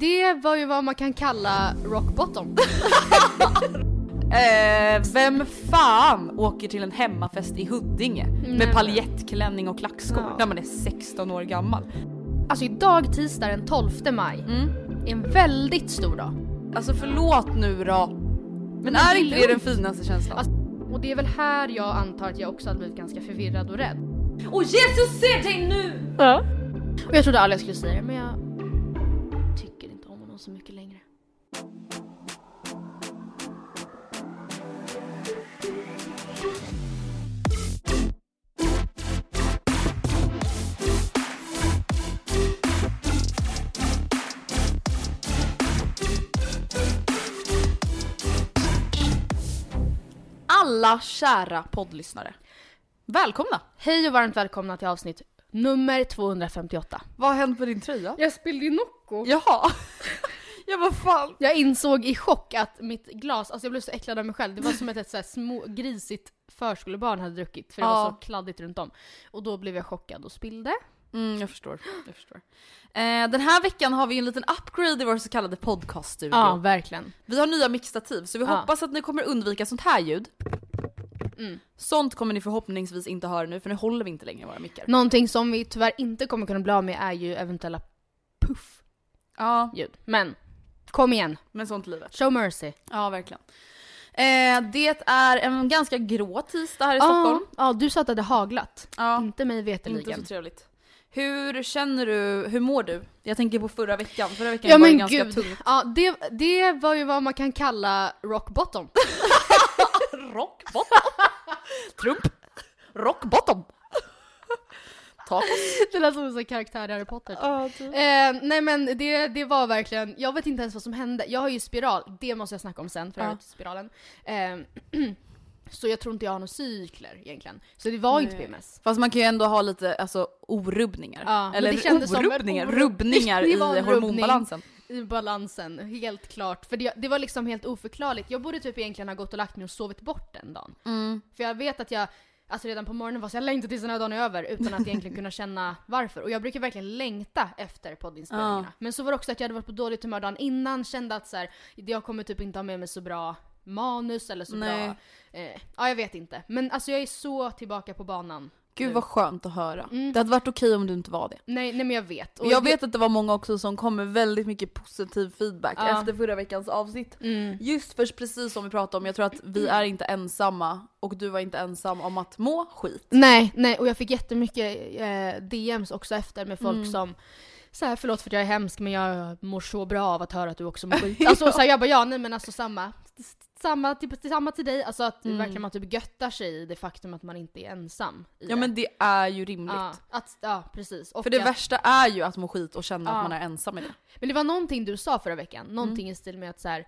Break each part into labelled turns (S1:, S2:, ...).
S1: Det var ju vad man kan kalla rock bottom.
S2: Eh, vem fan åker till en hemmafest i Huddinge med paljettklänning och klackskor
S1: Ja.
S2: när man är 16 år gammal?
S1: Alltså idag tisdag den 12 maj är en väldigt stor dag.
S2: Alltså förlåt nu då. Men,
S1: men
S2: är
S1: det är
S2: inte det den
S1: lugnt.
S2: finaste känslan?
S1: Alltså, och det är väl här jag antar att jag också hade blivit ganska förvirrad och rädd.
S2: Åh Jesus ser dig nu!
S1: Ja. Och jag trodde aldrig jag skulle säga det men jag tycker inte om honom så mycket längre.
S2: Alla kära poddlyssnare. Välkomna!
S1: Hej och varmt välkomna till avsnitt nummer 258.
S2: Vad har hänt med din tröja?
S1: Jag spillde ju Nocco.
S2: Jaha. Jag vad fan.
S1: Jag insåg i chock att mitt glas, alltså jag blev så äcklad av mig själv. Det var som att ett så här små, grisigt förskolebarn hade druckit för det var
S2: Ja.
S1: så kladdigt runt om. Och då blev jag chockad och spillde.
S2: Mm, jag förstår. Jag förstår. Eh, den här veckan har vi ju en liten upgrade i vår så kallade podcaststudio.
S1: Ja, verkligen.
S2: Vi har nya mixtativ så vi
S1: Ja.
S2: hoppas att ni kommer undvika sånt här ljud. Mm. Sånt kommer ni förhoppningsvis inte höra nu för nu håller vi inte längre i våra mickar.
S1: Någonting som vi tyvärr inte kommer kunna bli av med är ju eventuella puff-ljud.
S2: Ja,
S1: Men kom igen,
S2: men sånt i livet.
S1: show mercy.
S2: Ja, verkligen. Eh, det är en ganska grå tisdag här i Stockholm.
S1: Ja, du sa att det hade haglat.
S2: Ja,
S1: Inte mig
S2: inte så
S1: veterligen.
S2: trevligt. Hur känner du, hur mår du? Jag tänker på förra veckan, förra veckan
S1: Ja
S2: var ju
S1: men
S2: ganska
S1: gud.
S2: tung.
S1: Ja, det, det var ju vad man kan kalla rock bottom.
S2: Rock bottom. Trump. Rock bottom. Tacos.
S1: det lät som en sån karaktär i Harry Potter. typ. Eh, nej men det, det var verkligen, jag vet inte ens vad som hände. Jag har ju spiral, det måste jag snacka om sen för
S2: Ja.
S1: övrigt, spiralen. Eh, så jag tror inte jag har några cykler egentligen. Så det var inte PMS.
S2: Fast man kan ju ändå ha lite alltså, orubbningar.
S1: Ja, men
S2: Eller
S1: det kändes som en
S2: orubbningar,
S1: orub-
S2: rubbningar
S1: Det
S2: i
S1: var en rubbning.
S2: hormonbalansen.
S1: I balansen, helt klart. För det, det var liksom helt oförklarligt. Jag borde typ egentligen ha gått och lagt mig och sovit bort den dagen.
S2: Mm.
S1: För jag vet att jag, alltså redan på morgonen var så jag längtade tills den här dagen är över utan att egentligen kunna känna varför. Och jag brukar verkligen längta efter poddinspelningarna.
S2: Ja.
S1: Men så var det också att jag hade varit på dåligt humör dagen innan, kände att så här, jag kommer typ inte ha med mig så bra manus eller så
S2: Nej.
S1: bra... Eh, ja, jag vet inte. Men alltså jag är så tillbaka på banan.
S2: Gud vad skönt att höra. Det hade varit okej om du inte var det.
S1: Nej, nej men jag vet.
S2: Mm. Och jag vet att det var många också som kom med väldigt mycket positiv feedback
S1: Ja.
S2: efter förra veckans avsnitt. Just för precis som vi pratade om, jag tror att vi är inte ensamma och du var inte ensam om att må skit.
S1: Nej, nej och jag fick jättemycket eh, DMs också efter med folk
S2: Mm.
S1: som så här, förlåt för att jag är hemsk men jag mår så bra av att höra att du också mår skit. Alltså så här, jag bara ja nej men alltså samma. samma till, samma till dig, alltså att
S2: Mm.
S1: verkligen man typ göttar sig i det faktum att man inte är ensam. I
S2: Ja men det är ju rimligt.
S1: ja, att, ja precis. Och
S2: För det
S1: att,
S2: värsta är ju att må skit och känna
S1: Ja.
S2: att man är ensam i det.
S1: Men det var någonting du sa förra veckan,
S2: Mm.
S1: någonting i stil med att så här,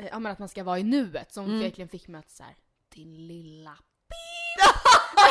S1: eh, ja, men att man ska vara i nuet som
S2: Mm.
S1: verkligen fick mig att så här, din lilla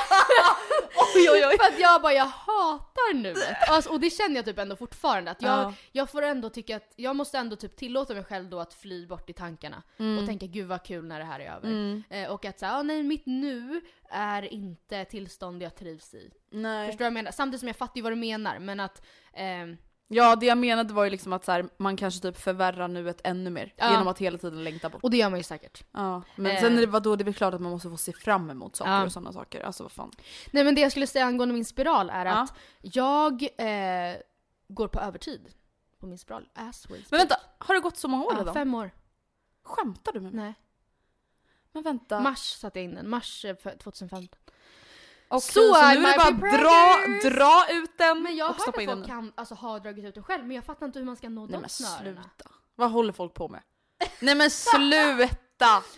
S2: Oj oj oj!
S1: För att jag bara, jag hatar nuet. Alltså, och det känner jag typ ändå fortfarande. Att jag,
S2: Ja.
S1: jag får ändå tycka att, jag måste ändå typ tillåta mig själv då att fly bort i tankarna.
S2: Mm.
S1: Och tänka gud vad kul när det här är över. Eh, och att säga, ah, nej mitt nu är inte ett tillstånd jag trivs i.
S2: Nej.
S1: Förstår du vad jag menar? Samtidigt som jag fattar ju vad du menar men att, ehm,
S2: Ja det jag menade var ju liksom att så här, man kanske typ förvärrar nuet ännu mer
S1: Ja.
S2: genom att hela tiden längta bort.
S1: och det gör man ju säkert.
S2: Ja. Men
S1: Eh.
S2: sen är det, vadå, det är väl klart att man måste få se fram emot saker
S1: Ja.
S2: och sådana saker. Alltså vad fan.
S1: Nej men det jag skulle säga angående min spiral är
S2: Ja.
S1: att jag eh, går på övertid på min spiral. As we
S2: Men
S1: speak.
S2: vänta, har det gått så många år
S1: ja,
S2: redan?
S1: fem år.
S2: Skämtar du med mig?
S1: Nej.
S2: Men vänta.
S1: Mars satte jag in den, mars eh, för 2015.
S2: Okej,
S1: So
S2: så, nu
S1: are
S2: är det
S1: my
S2: bara
S1: preparators.
S2: dra, dra ut den
S1: Men jag har
S2: och
S1: hört att
S2: stoppa in
S1: folk
S2: den.
S1: kan alltså, ha dragit ut den själv men jag fattar inte hur man ska nå
S2: Nej
S1: de
S2: men
S1: snörena.
S2: sluta. Vad håller folk på med? Nej men sluta!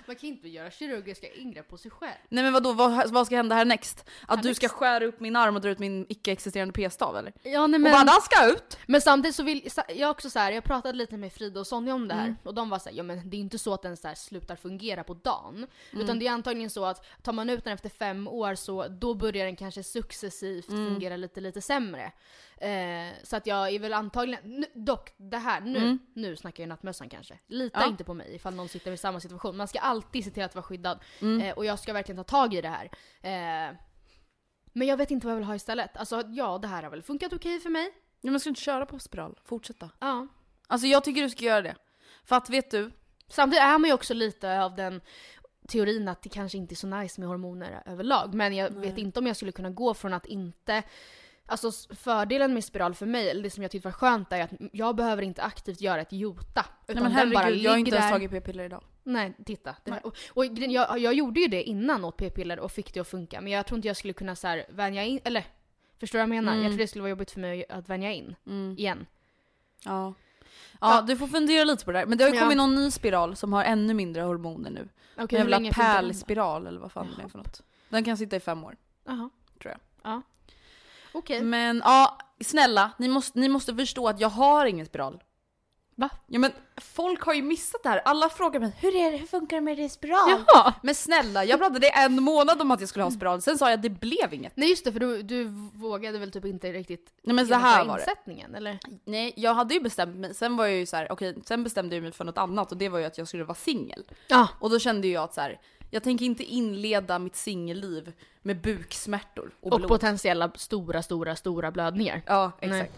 S1: Man kan inte göra kirurgiska ingrepp på sig själv.
S2: Nej men vadå, vad, vad ska hända härnäxt? Att du
S1: Härnäxt?
S2: ska skära upp min arm och dra ut min icke-existerande p-stav eller?
S1: Ja, nej,
S2: Och bara den ska ut!
S1: men samtidigt så vill sa- jag också så här, jag pratade lite med Frida och Sonja om det här och de var så här, ja men det är inte så att den så här slutar fungera på dagen. Utan det är antagligen så att tar man ut den efter fem år så då börjar den kanske successivt fungera lite lite sämre. Eh, så att jag är väl antagligen, nu, dock det här nu, nu snackar jag nattmössan kanske. Lita
S2: Ja.
S1: inte på mig ifall någon sitter i samma situation. Man ska alltid se till att vara skyddad. Eh, och jag ska verkligen ta tag i det här. Eh, men jag vet inte vad jag vill ha istället. Alltså ja, det här har väl funkat okej för mig.
S2: Nej men ska du inte köra på spiral? Fortsätta.
S1: Ja.
S2: Alltså jag tycker du ska göra det. För att vet du,
S1: Samtidigt är man ju också lite av den teorin att det kanske inte är så nice med hormoner överlag. Men jag vet inte om jag skulle kunna gå från att inte Alltså s- fördelen med spiral för mig, eller det som jag tyckte var skönt är att jag behöver inte aktivt göra ett jota.
S2: nej
S1: Utan
S2: men
S1: den bara
S2: herregud jag
S1: ligger
S2: har inte ens
S1: där.
S2: tagit p-piller idag.
S1: Nej, titta. Det
S2: Nej.
S1: och och grejen- jag, jag gjorde ju det innan åt p-piller och fick det att funka. Men jag tror inte jag skulle kunna så här vänja in, eller förstår du vad jag menar?
S2: Mm.
S1: Jag tror det skulle vara jobbigt för mig att vänja in igen.
S2: Ja. Ja, du får fundera lite på det där. Men det har ju
S1: Ja.
S2: kommit någon ny spiral som har ännu mindre hormoner nu.
S1: Okej,
S2: En
S1: hur länge
S2: jävla
S1: funkar den då?
S2: pärlspiral eller vad fan det är för något. Den kan sitta i fem år,
S1: Jaha,
S2: tror jag.
S1: ja. Okej.
S2: Men ja, snälla, ni måste, ni måste förstå att jag har ingen spiral.
S1: Va?
S2: Ja men folk har ju missat det här. Alla frågar mig hur är det, hur funkar det med din spiral?
S1: Jaha!
S2: Men snälla, jag pratade i en månad om att jag skulle ha spiral, sen sa jag att det blev inget.
S1: Nej just det, för du, du vågade väl typ inte riktigt
S2: Nej men så
S1: genomföra
S2: här var det.
S1: insättningen eller?
S2: Nej, jag hade ju bestämt mig, sen var jag ju så här, okej, sen bestämde jag mig för något annat och det var ju att jag skulle vara singel.
S1: Ja.
S2: Och då kände ju jag att så här, jag tänker inte inleda mitt singelliv med buksmärtor och,
S1: Och
S2: blod.
S1: potentiella stora, stora, stora blödningar.
S2: Ja,
S1: Nej.
S2: exakt.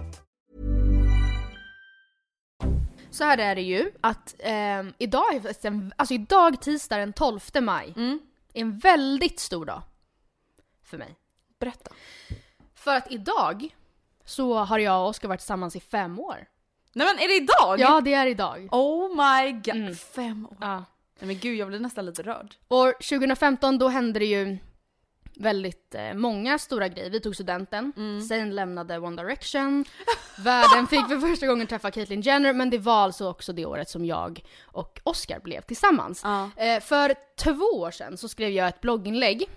S1: Så här är det ju att ehm, idag, är faktiskt en- alltså idag tisdag den 12 maj,
S2: Mm.
S1: är en väldigt stor dag för mig.
S2: Berätta.
S1: För att idag så har jag och Oskar varit tillsammans i fem år.
S2: Nej men är det idag?
S1: Ja, det Mm. är idag.
S2: Oh my god. Fem år.
S1: Ja.
S2: Nej men gud jag blir nästan lite rörd.
S1: År 2015 då hände det ju väldigt eh, många stora grejer. Vi tog studenten, sen lämnade One Direction, världen fick för första gången träffa Caitlyn Jenner men det var alltså också det året som jag och Oscar blev tillsammans. Eh, för två år sedan så skrev jag ett blogginlägg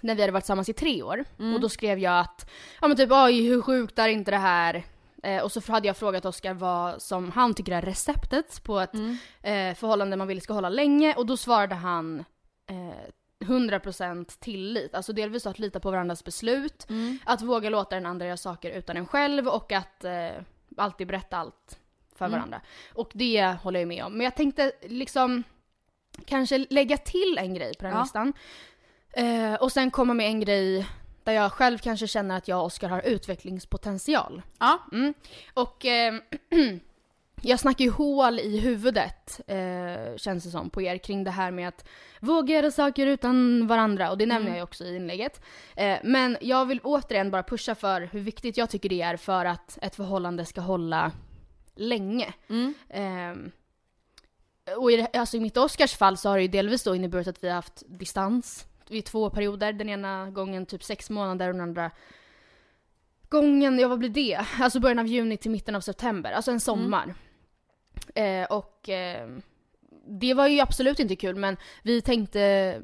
S1: när vi hade varit tillsammans i tre år. Och då skrev jag att, ja men typ oj hur sjukt är inte det här? Eh, och så hade jag frågat Oskar vad som han tycker är receptet på ett eh, förhållande man vill ska hålla länge och då svarade han eh, 100% tillit. Alltså delvis att lita på varandras beslut, att våga låta den andra göra saker utan en själv och att eh, alltid berätta allt för varandra. Och det håller jag med om. Men jag tänkte liksom kanske lägga till en grej på den
S2: Ja.
S1: listan. Eh, och sen komma med en grej där jag själv kanske känner att jag och Oskar har utvecklingspotential.
S2: Ja.
S1: Mm. Och eh, jag snackar ju hål i huvudet, eh, känns det som, på er kring det här med att våga göra saker utan varandra. Och det nämner jag ju också i inlägget. Eh, men jag vill återigen bara pusha för hur viktigt jag tycker det är för att ett förhållande ska hålla länge. Ehm, och i, det- alltså i mitt och Oscars fall så har det ju delvis då inneburit att vi har haft distans i två perioder. Den ena gången typ sex månader och den andra gången, ja vad blir det? Alltså början av juni till mitten av september, alltså en sommar. Eh, och eh, det var ju absolut inte kul men vi tänkte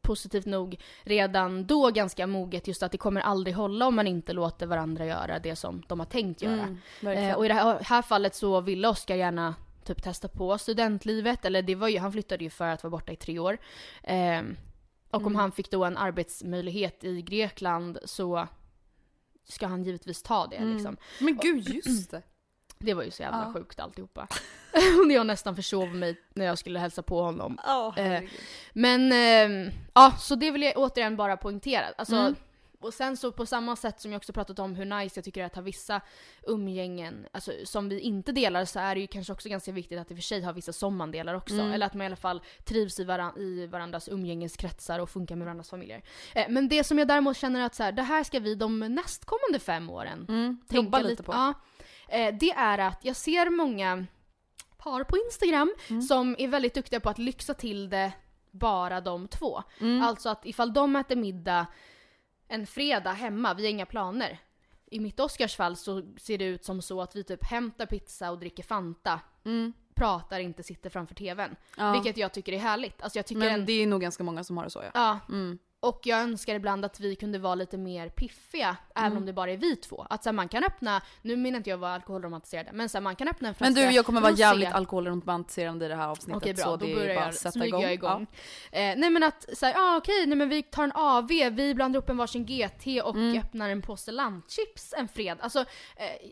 S1: positivt nog redan då ganska moget just att det kommer aldrig hålla om man inte låter varandra göra det som de har tänkt göra.
S2: Mm. verkligen.
S1: Eh, och i det här, här fallet så ville Oskar gärna typ testa på studentlivet, eller det var ju, han flyttade ju för att vara borta i tre år. Eh, och
S2: Mm.
S1: om han fick då en arbetsmöjlighet i Grekland så ska han givetvis ta det liksom.
S2: Men gud just det.
S1: Det var ju så jävla
S2: Mm. Ja.
S1: sjukt alltihopa. och jag nästan försov mig när jag skulle hälsa på honom.
S2: Oh,
S1: Eh, men ehm, ja, så det vill jag återigen bara poängtera. Alltså,
S2: Mm.
S1: Och sen så på samma sätt som jag också pratat om hur nice jag tycker det är att ha vissa umgängen alltså, som vi inte delar så är det ju kanske också ganska viktigt att i och för sig ha vissa som man delar också.
S2: Mm.
S1: Eller att man i alla fall trivs i, varan- i varandras umgängeskretsar och funkar med varandras familjer. Eh, men det som jag däremot känner att så här, det här ska vi de nästkommande fem åren tänka
S2: Mm, jobba lite på.
S1: Ja, eh, det är att jag ser många par på Instagram
S2: Mm.
S1: som är väldigt duktiga på att lyxa till det bara de två.
S2: Mm.
S1: Alltså att ifall de äter middag en fredag hemma, vi har inga planer. I mitt och Oscars fall så ser det ut som så att vi typ hämtar pizza och dricker Fanta.
S2: Mm.
S1: Pratar inte, sitter framför TVn. Vilket jag tycker är härligt. Alltså jag tycker
S2: Men
S1: en-
S2: det är nog ganska många som har det så ja.
S1: Ja. Och jag önskar ibland att vi kunde vara lite mer piffiga,
S2: Mm.
S1: även om det bara är vi två. Att så här, man kan öppna, nu menar inte jag var alkoholromantiserad, men så här, man kan öppna en flaska
S2: Men du jag kommer vara
S1: rosé.
S2: jävligt alkoholromantiserande i det här avsnittet
S1: Okej bra,
S2: så
S1: då
S2: det är
S1: börjar
S2: bara
S1: jag,
S2: att sätta
S1: smyger
S2: igång.
S1: jag igång. Eh, nej men att såhär, ah, okej, nej men vi tar en AV, vi blandar upp en varsin GT och
S2: Mm.
S1: öppnar en påse landchips en fred. Alltså, eh,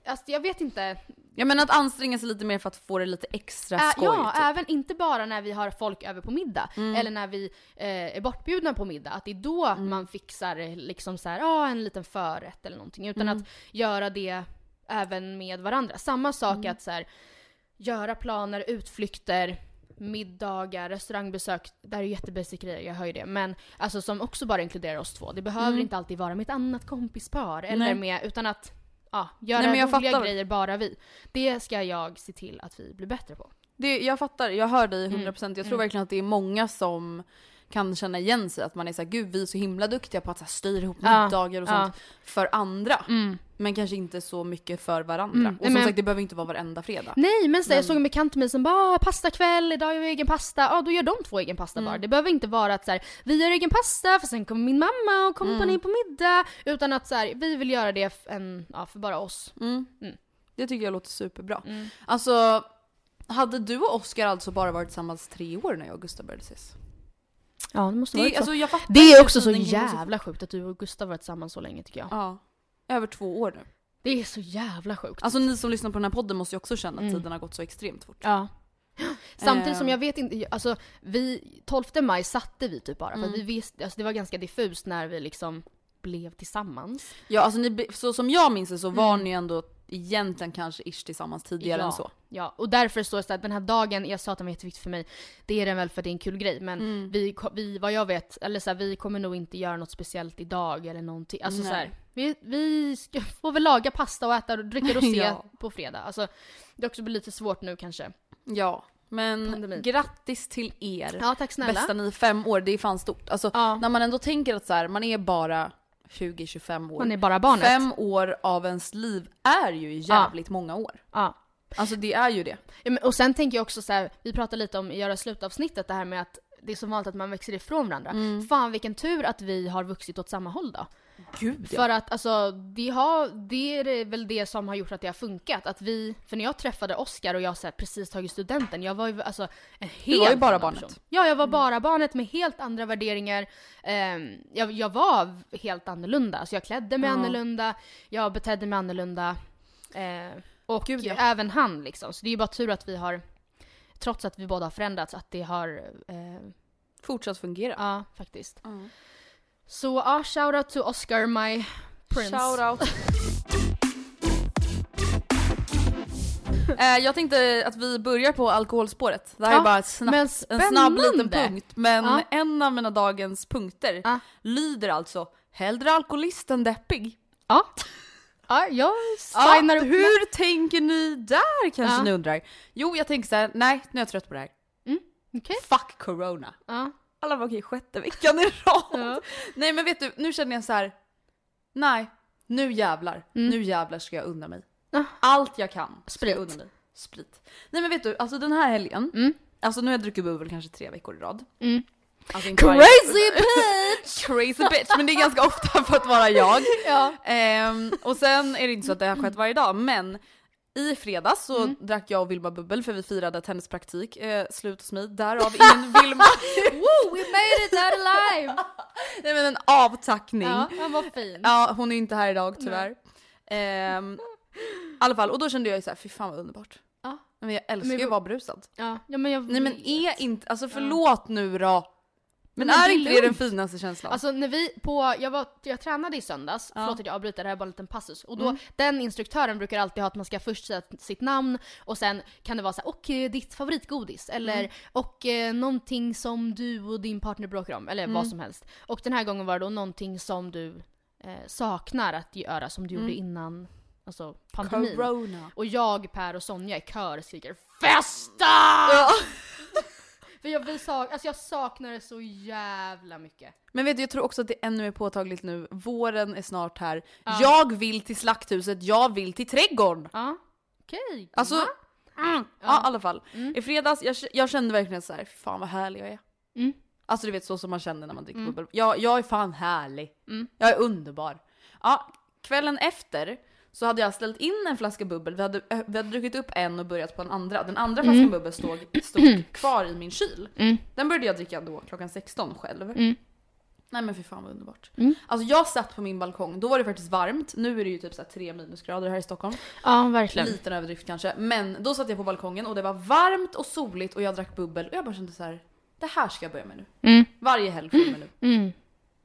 S1: alltså jag vet inte.
S2: Ja. ja men att anstränga sig lite mer för att få det lite extra
S1: Ä-
S2: skoj.
S1: Äh, ja,
S2: typ. Mm.
S1: även inte bara när vi har folk över på middag eller när vi eh, är bortbjudna på middag. Att det är då man fixar liksom så här, ah, en liten förrätt eller någonting. Utan
S2: Mm.
S1: att göra det även med varandra. Samma sak
S2: Mm.
S1: att så här, göra planer, utflykter, middagar, restaurangbesök. Det här är jättebasic grejer, jag hör ju det. Men alltså som också bara inkluderar oss två. Det behöver inte alltid vara med ett annat kompispar eller
S2: Mm. Nej.
S1: med, utan att ja, göra
S2: Nej, men jag
S1: roliga
S2: fattar.
S1: grejer bara vi. Det ska jag se till att vi blir bättre på.
S2: Det, jag fattar, jag hör dig 100%. Jag tror verkligen att det är många som kan känna igen sig. Att man är såhär, gud vi är så himla duktiga på att så här, styra ihop
S1: Ja,
S2: middagar och
S1: ja.
S2: sånt för andra. Men kanske inte så mycket för varandra. Och som
S1: men-
S2: sagt det behöver inte vara varenda fredag.
S1: Nej men, så, jag såg en bekant till mig som bara "Ah, pastakväll, idag gör vi egen pasta. Ja då gör de två egen pasta bara. Det behöver inte vara att så här, vi gör egen pasta för sen kommer min mamma och kommer på på middag. Utan att så här, vi vill göra det f- en, ja, för bara oss.
S2: Det tycker jag låter superbra. Alltså, hade du och Oscar alltså bara varit tillsammans tre år när jag och Gustav började ses?
S1: Ja det måste
S2: Det, alltså, jag fattar
S1: det är
S2: inte
S1: också så
S2: hur den kommer
S1: jävla sjukt att du och Gustav varit tillsammans så länge tycker jag.
S2: Ja. Över två år nu.
S1: Det är så jävla sjukt.
S2: Alltså ni som lyssnar på den här podden måste ju också känna att
S1: Mm.
S2: tiden har gått så extremt fort.
S1: Ja. Samtidigt som
S2: Ehm.
S1: jag vet inte, alltså vi, 12 maj satte vi typ bara för att vi visste, alltså det var ganska diffust när vi liksom blev tillsammans.
S2: Ja, alltså ni, be- så som jag minns det så var ni ändå egentligen kanske ish tillsammans tidigare
S1: Mm. ja.
S2: än så.
S1: Ja, och därför står det så här, den här dagen, jag sa att den var jätteviktig för mig, det är den väl för att det är en kul grej, men
S2: Mm.
S1: vi, ko- vi, vad jag vet, eller så här, vi kommer nog inte göra något speciellt idag eller någonting. Alltså så här, vi, vi ska, får väl laga pasta och äta och dricka rosé
S2: Ja.
S1: på fredag. Alltså, det också blir lite svårt nu kanske.
S2: Ja, men
S1: Pandemin.
S2: grattis till er.
S1: Ja, tack snälla.
S2: Bästa ni fem år, det är fan stort. Alltså
S1: Ja.
S2: när man ändå tänker att så här, man är bara 20-25 år.
S1: Man är bara barnet.
S2: Fem år av ens liv är ju jävligt många år.
S1: Ja.
S2: Alltså det är ju det.
S1: Ja, men, och sen tänker jag också så här, vi pratade lite om i göra slutavsnittet det här med att det är så vanligt att man växer ifrån varandra.
S2: Mm.
S1: Fan vilken tur att vi har vuxit åt samma håll då.
S2: Gud
S1: För att alltså, det, har, det är väl det som har gjort att det har funkat. Att vi, för när jag träffade Oscar och jag så här, precis tagit studenten, jag var ju alltså en helt
S2: var ju bara
S1: annan
S2: barnet. Mm.
S1: person. Ja, jag var bara barnet med helt andra värderingar. Ehm, jag, jag var helt annorlunda. Alltså jag klädde mig annorlunda, jag betedde mig annorlunda. Ehm, och
S2: Gud, ja.
S1: även han liksom. Så det är ju bara tur att vi har, trots att vi båda har förändrats, att det har eh,
S2: Fortsatt fungera.
S1: Ja, faktiskt. Så ja, shoutout to Oscar, my prince.
S2: Shoutout. eh, jag tänkte att vi börjar på alkoholspåret. Det här
S1: Ja,
S2: är bara ett snabbt,
S1: men
S2: en snabb liten
S1: spännande.
S2: punkt. Men
S1: Ja.
S2: en av mina dagens punkter
S1: Ja.
S2: lyder alltså Hellre alkoholist än deppig.
S1: Ja. Ja, jag
S2: Ja,
S1: signar upp mig.
S2: hur tänker ni där kanske
S1: Ja.
S2: ni undrar? Jo jag tänker så här, nej nu är jag trött på det här.
S1: Okej.
S2: Fuck corona.
S1: Ja.
S2: Alla bara okej sjätte veckan i rad.
S1: Ja.
S2: Nej men vet du, nu känner jag så här. nej nu jävlar, nu jävlar ska jag unna mig.
S1: Mm. Ja.
S2: Allt jag kan ska
S1: Sprit. Mm.
S2: jag unna mig. Sprit. Nej men vet du, alltså den här helgen, alltså nu har jag druckit bubbel kanske tre veckor i rad. Alltså, inte varje-
S1: Crazy bitch!
S2: crazy bitch, men det är ganska ofta för att vara jag.
S1: Ja.
S2: Ehm, och sen är det inte så att det har skett varje dag, men i fredags så
S1: Mm.
S2: drack jag och Vilma bubbel för vi firade tennispraktik, eh, slut hos mig, därav ingen Vilma.
S1: Woo, we made it out alive!
S2: Nej men en avtackning.
S1: Ja,
S2: Ja.
S1: han var fin.
S2: hon är inte här idag tyvärr. Ehm, I alla fall, och då kände jag ju såhär, fy fan vad underbart.
S1: Ja.
S2: Men jag älskar
S1: Men-
S2: ju att vara brusad.
S1: Ja, ja men jag
S2: Nej men
S1: vet.
S2: är inte, alltså förlåt nu då. Men,
S1: Men
S2: är
S1: det är
S2: inte det den
S1: lugnt.
S2: finaste känslan?
S1: Alltså när vi på, jag, var, jag tränade i söndags, förlåt att jag avbryter, det här är bara en liten passus. Och då, den instruktören brukar alltid ha att man ska först säga sitt namn och sen kan det vara så här, och eh, ditt favoritgodis eller och eh, någonting som du och din partner bråkar om eller vad som helst. Och den här gången var det då någonting som du eh, saknar att göra som du gjorde innan alltså, pandemin.
S2: Corona.
S1: Och jag, Per och Sonja i kör skriker FESTA! För jag, vi sak, alltså jag saknar det så jävla mycket.
S2: Men vet du, jag tror också att det ännu är påtagligt nu. Våren är snart här. Jag vill till slakthuset, jag vill till trädgården!
S1: Ja. Okej.
S2: Alltså,
S1: gumman.
S2: mm, ja Mm. i alla fall. I fredags, jag, jag kände verkligen så här, "Fy fan vad härlig jag är.
S1: Mm.
S2: Alltså du vet så som man känner när man dricker bubbel. Jag, jag är fan härlig. Jag är underbar. Ja, kvällen efter så hade jag ställt in en flaska bubbel, vi hade, vi hade druckit upp en och börjat på en andra. Den andra flaskan bubbel stod, stod kvar i min kyl. Den började jag dricka då klockan 16 själv. Nej men för fan vad underbart. Alltså jag satt på min balkong, då var det faktiskt varmt. Nu är det ju typ så här 3 minusgrader här i Stockholm.
S1: ja, verkligen.
S2: Liten överdrift kanske. Men då satt jag på balkongen och det var varmt och soligt och jag drack bubbel och jag bara kände så här. Det här ska jag börja med nu.
S1: Mm.
S2: Varje helg från och med nu.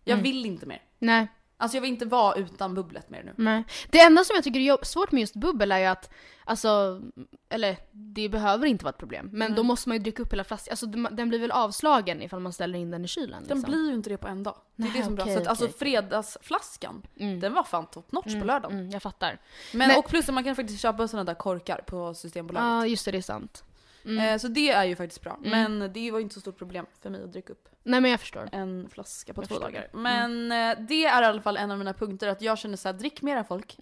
S2: Jag vill inte mer.
S1: Nej,
S2: Alltså jag vill inte vara utan bubblet mer nu.
S1: nej. Det enda som jag tycker är jobb- svårt med just bubbel är ju att, alltså, eller det behöver inte vara ett problem, men då måste man ju dricka upp hela flaskan. Alltså den- den blir väl avslagen ifall man ställer in den i kylen.
S2: Den
S1: Liksom.
S2: blir ju inte det på en dag. Det är
S1: Nej,
S2: det som är bra.
S1: okej,
S2: Så att, alltså
S1: okej,
S2: fredagsflaskan, den var fan top notch på lördagen.
S1: Mm, jag fattar.
S2: Men,
S1: Men-
S2: och plus att man kan faktiskt köpa sådana där korkar på
S1: Ja, Mm.
S2: Systembolaget.
S1: ah, just det, det är sant.
S2: Eh, så det är ju faktiskt bra. Men det var ju inte så stort problem för mig att dricka upp
S1: Nej men jag förstår.
S2: en flaska på
S1: Jag
S2: två
S1: förstår. Mm.
S2: dagar. Men eh, det är i alla fall en av mina punkter, att jag känner så här, drick mera folk.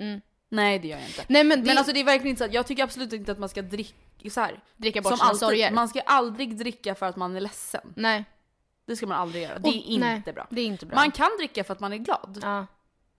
S2: Nej det gör jag inte.
S1: Mm. Nej men, det,
S2: Men alltså det är verkligen inte så att, jag tycker absolut inte att man ska dricka så här.
S1: dricka bort
S2: Som
S1: sina
S2: alltid,
S1: sorger.
S2: man ska aldrig dricka för att man är ledsen.
S1: Nej.
S2: Det ska man aldrig göra, det är
S1: Och-
S2: inte
S1: nej,
S2: bra.
S1: Det är inte bra.
S2: Man kan dricka för att man är glad.
S1: Ja.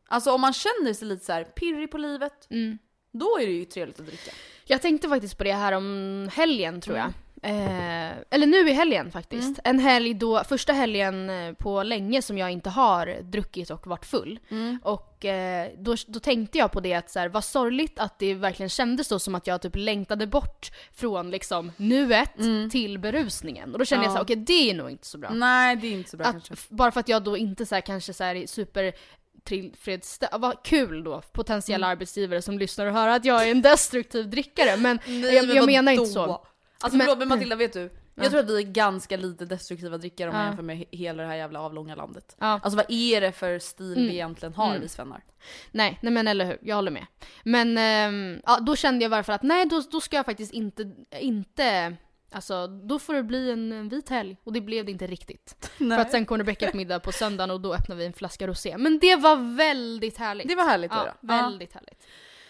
S2: Alltså om man känner sig lite så här pirrig på livet,
S1: Mm.
S2: då är det ju trevligt att dricka.
S1: Jag tänkte faktiskt på det här om helgen tror jag. Eh, eller nu i helgen faktiskt. En helg då, första helgen eh, på länge som jag inte har druckit och varit full. Och eh, då, då tänkte jag på det att så här, vad sorgligt att det verkligen kändes så som att jag typ längtade bort från liksom nuet till berusningen. Och då kände jag så här, okej det är nog inte så bra.
S2: Nej det är inte så bra
S1: Att,
S2: kanske.
S1: f- bara för att jag då inte så här, kanske så här, är super tillfredsställande. Vad kul då,
S2: Mm.
S1: potentiella arbetsgivare som lyssnar och hör att jag är en destruktiv drickare. Men jag, jag menar inte så.
S2: Alltså
S1: Men-
S2: förlåt men Matilda vet du? Jag tror att vi är ganska lite destruktiva drickare om man jämför med he- hela det här jävla avlånga landet.
S1: Ja. Mm.
S2: Alltså vad är det för stil vi egentligen har vi svennar?
S1: Nej, nej men eller hur, jag håller med. Men ehm, ja, då kände jag varför att nej då, då ska jag faktiskt inte, inte, alltså då får det bli en, en vit helg. Och det blev det inte riktigt. För att sen kom Rebecca på middag på söndagen och då öppnade vi en flaska rosé. Men det var väldigt härligt.
S2: Det var härligt
S1: ja,
S2: då.
S1: väldigt härligt.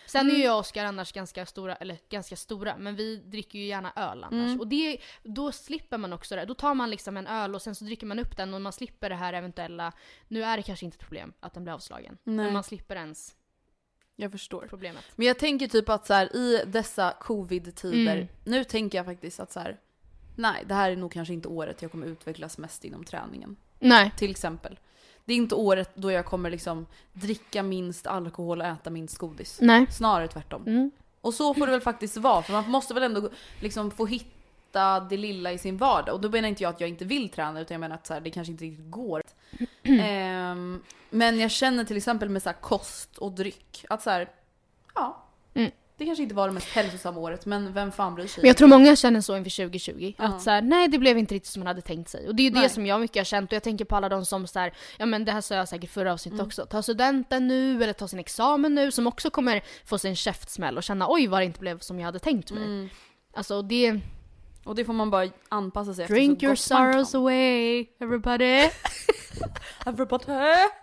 S1: Sen är ju jag och Oskar annars ganska stora, eller ganska stora, men vi dricker ju gärna öl annars. Och det, då slipper man också det. Då tar man liksom en öl och sen så dricker man upp den och man slipper det här eventuella, nu är det kanske inte ett problem att den blir avslagen.
S2: Nej.
S1: Men man slipper ens
S2: Jag förstår.
S1: problemet.
S2: Men jag tänker typ att så här, i dessa covid-tider,
S1: Mm.
S2: nu tänker jag faktiskt att så här, nej det här är nog kanske inte året jag kommer utvecklas mest inom träningen.
S1: Nej.
S2: Till exempel. Det är inte året då jag kommer liksom dricka minst alkohol och äta minst godis.
S1: Nej. Mm.
S2: Snarare tvärtom. Och så får det väl faktiskt vara för man måste väl ändå liksom få hitta det lilla i sin vardag. Och då menar inte jag att jag inte vill träna utan jag menar att så här, det kanske inte riktigt går. Ehm, men jag känner till exempel med så här, kost och dryck att så här, ja.
S1: Mm.
S2: Det kanske inte var det mest hälsosamma året men vem fan bryr sig?
S1: Men jag tror många känner så inför 2020.
S2: Ja.
S1: Att så här, nej det blev inte riktigt som man hade tänkt sig. Och det är ju det
S2: Nej.
S1: som jag mycket har känt och jag tänker på alla de som så här, ja men det här sa jag säkert förra avsnittet också. Ta studenten nu eller ta sin examen nu som också kommer få sin käftsmäll och känna oj vad det inte blev som jag hade tänkt mig. Alltså och det,
S2: Och det får man bara anpassa sig
S1: drink your
S2: efter så gott man
S1: sorrows away everybody.
S2: kan. Everybody.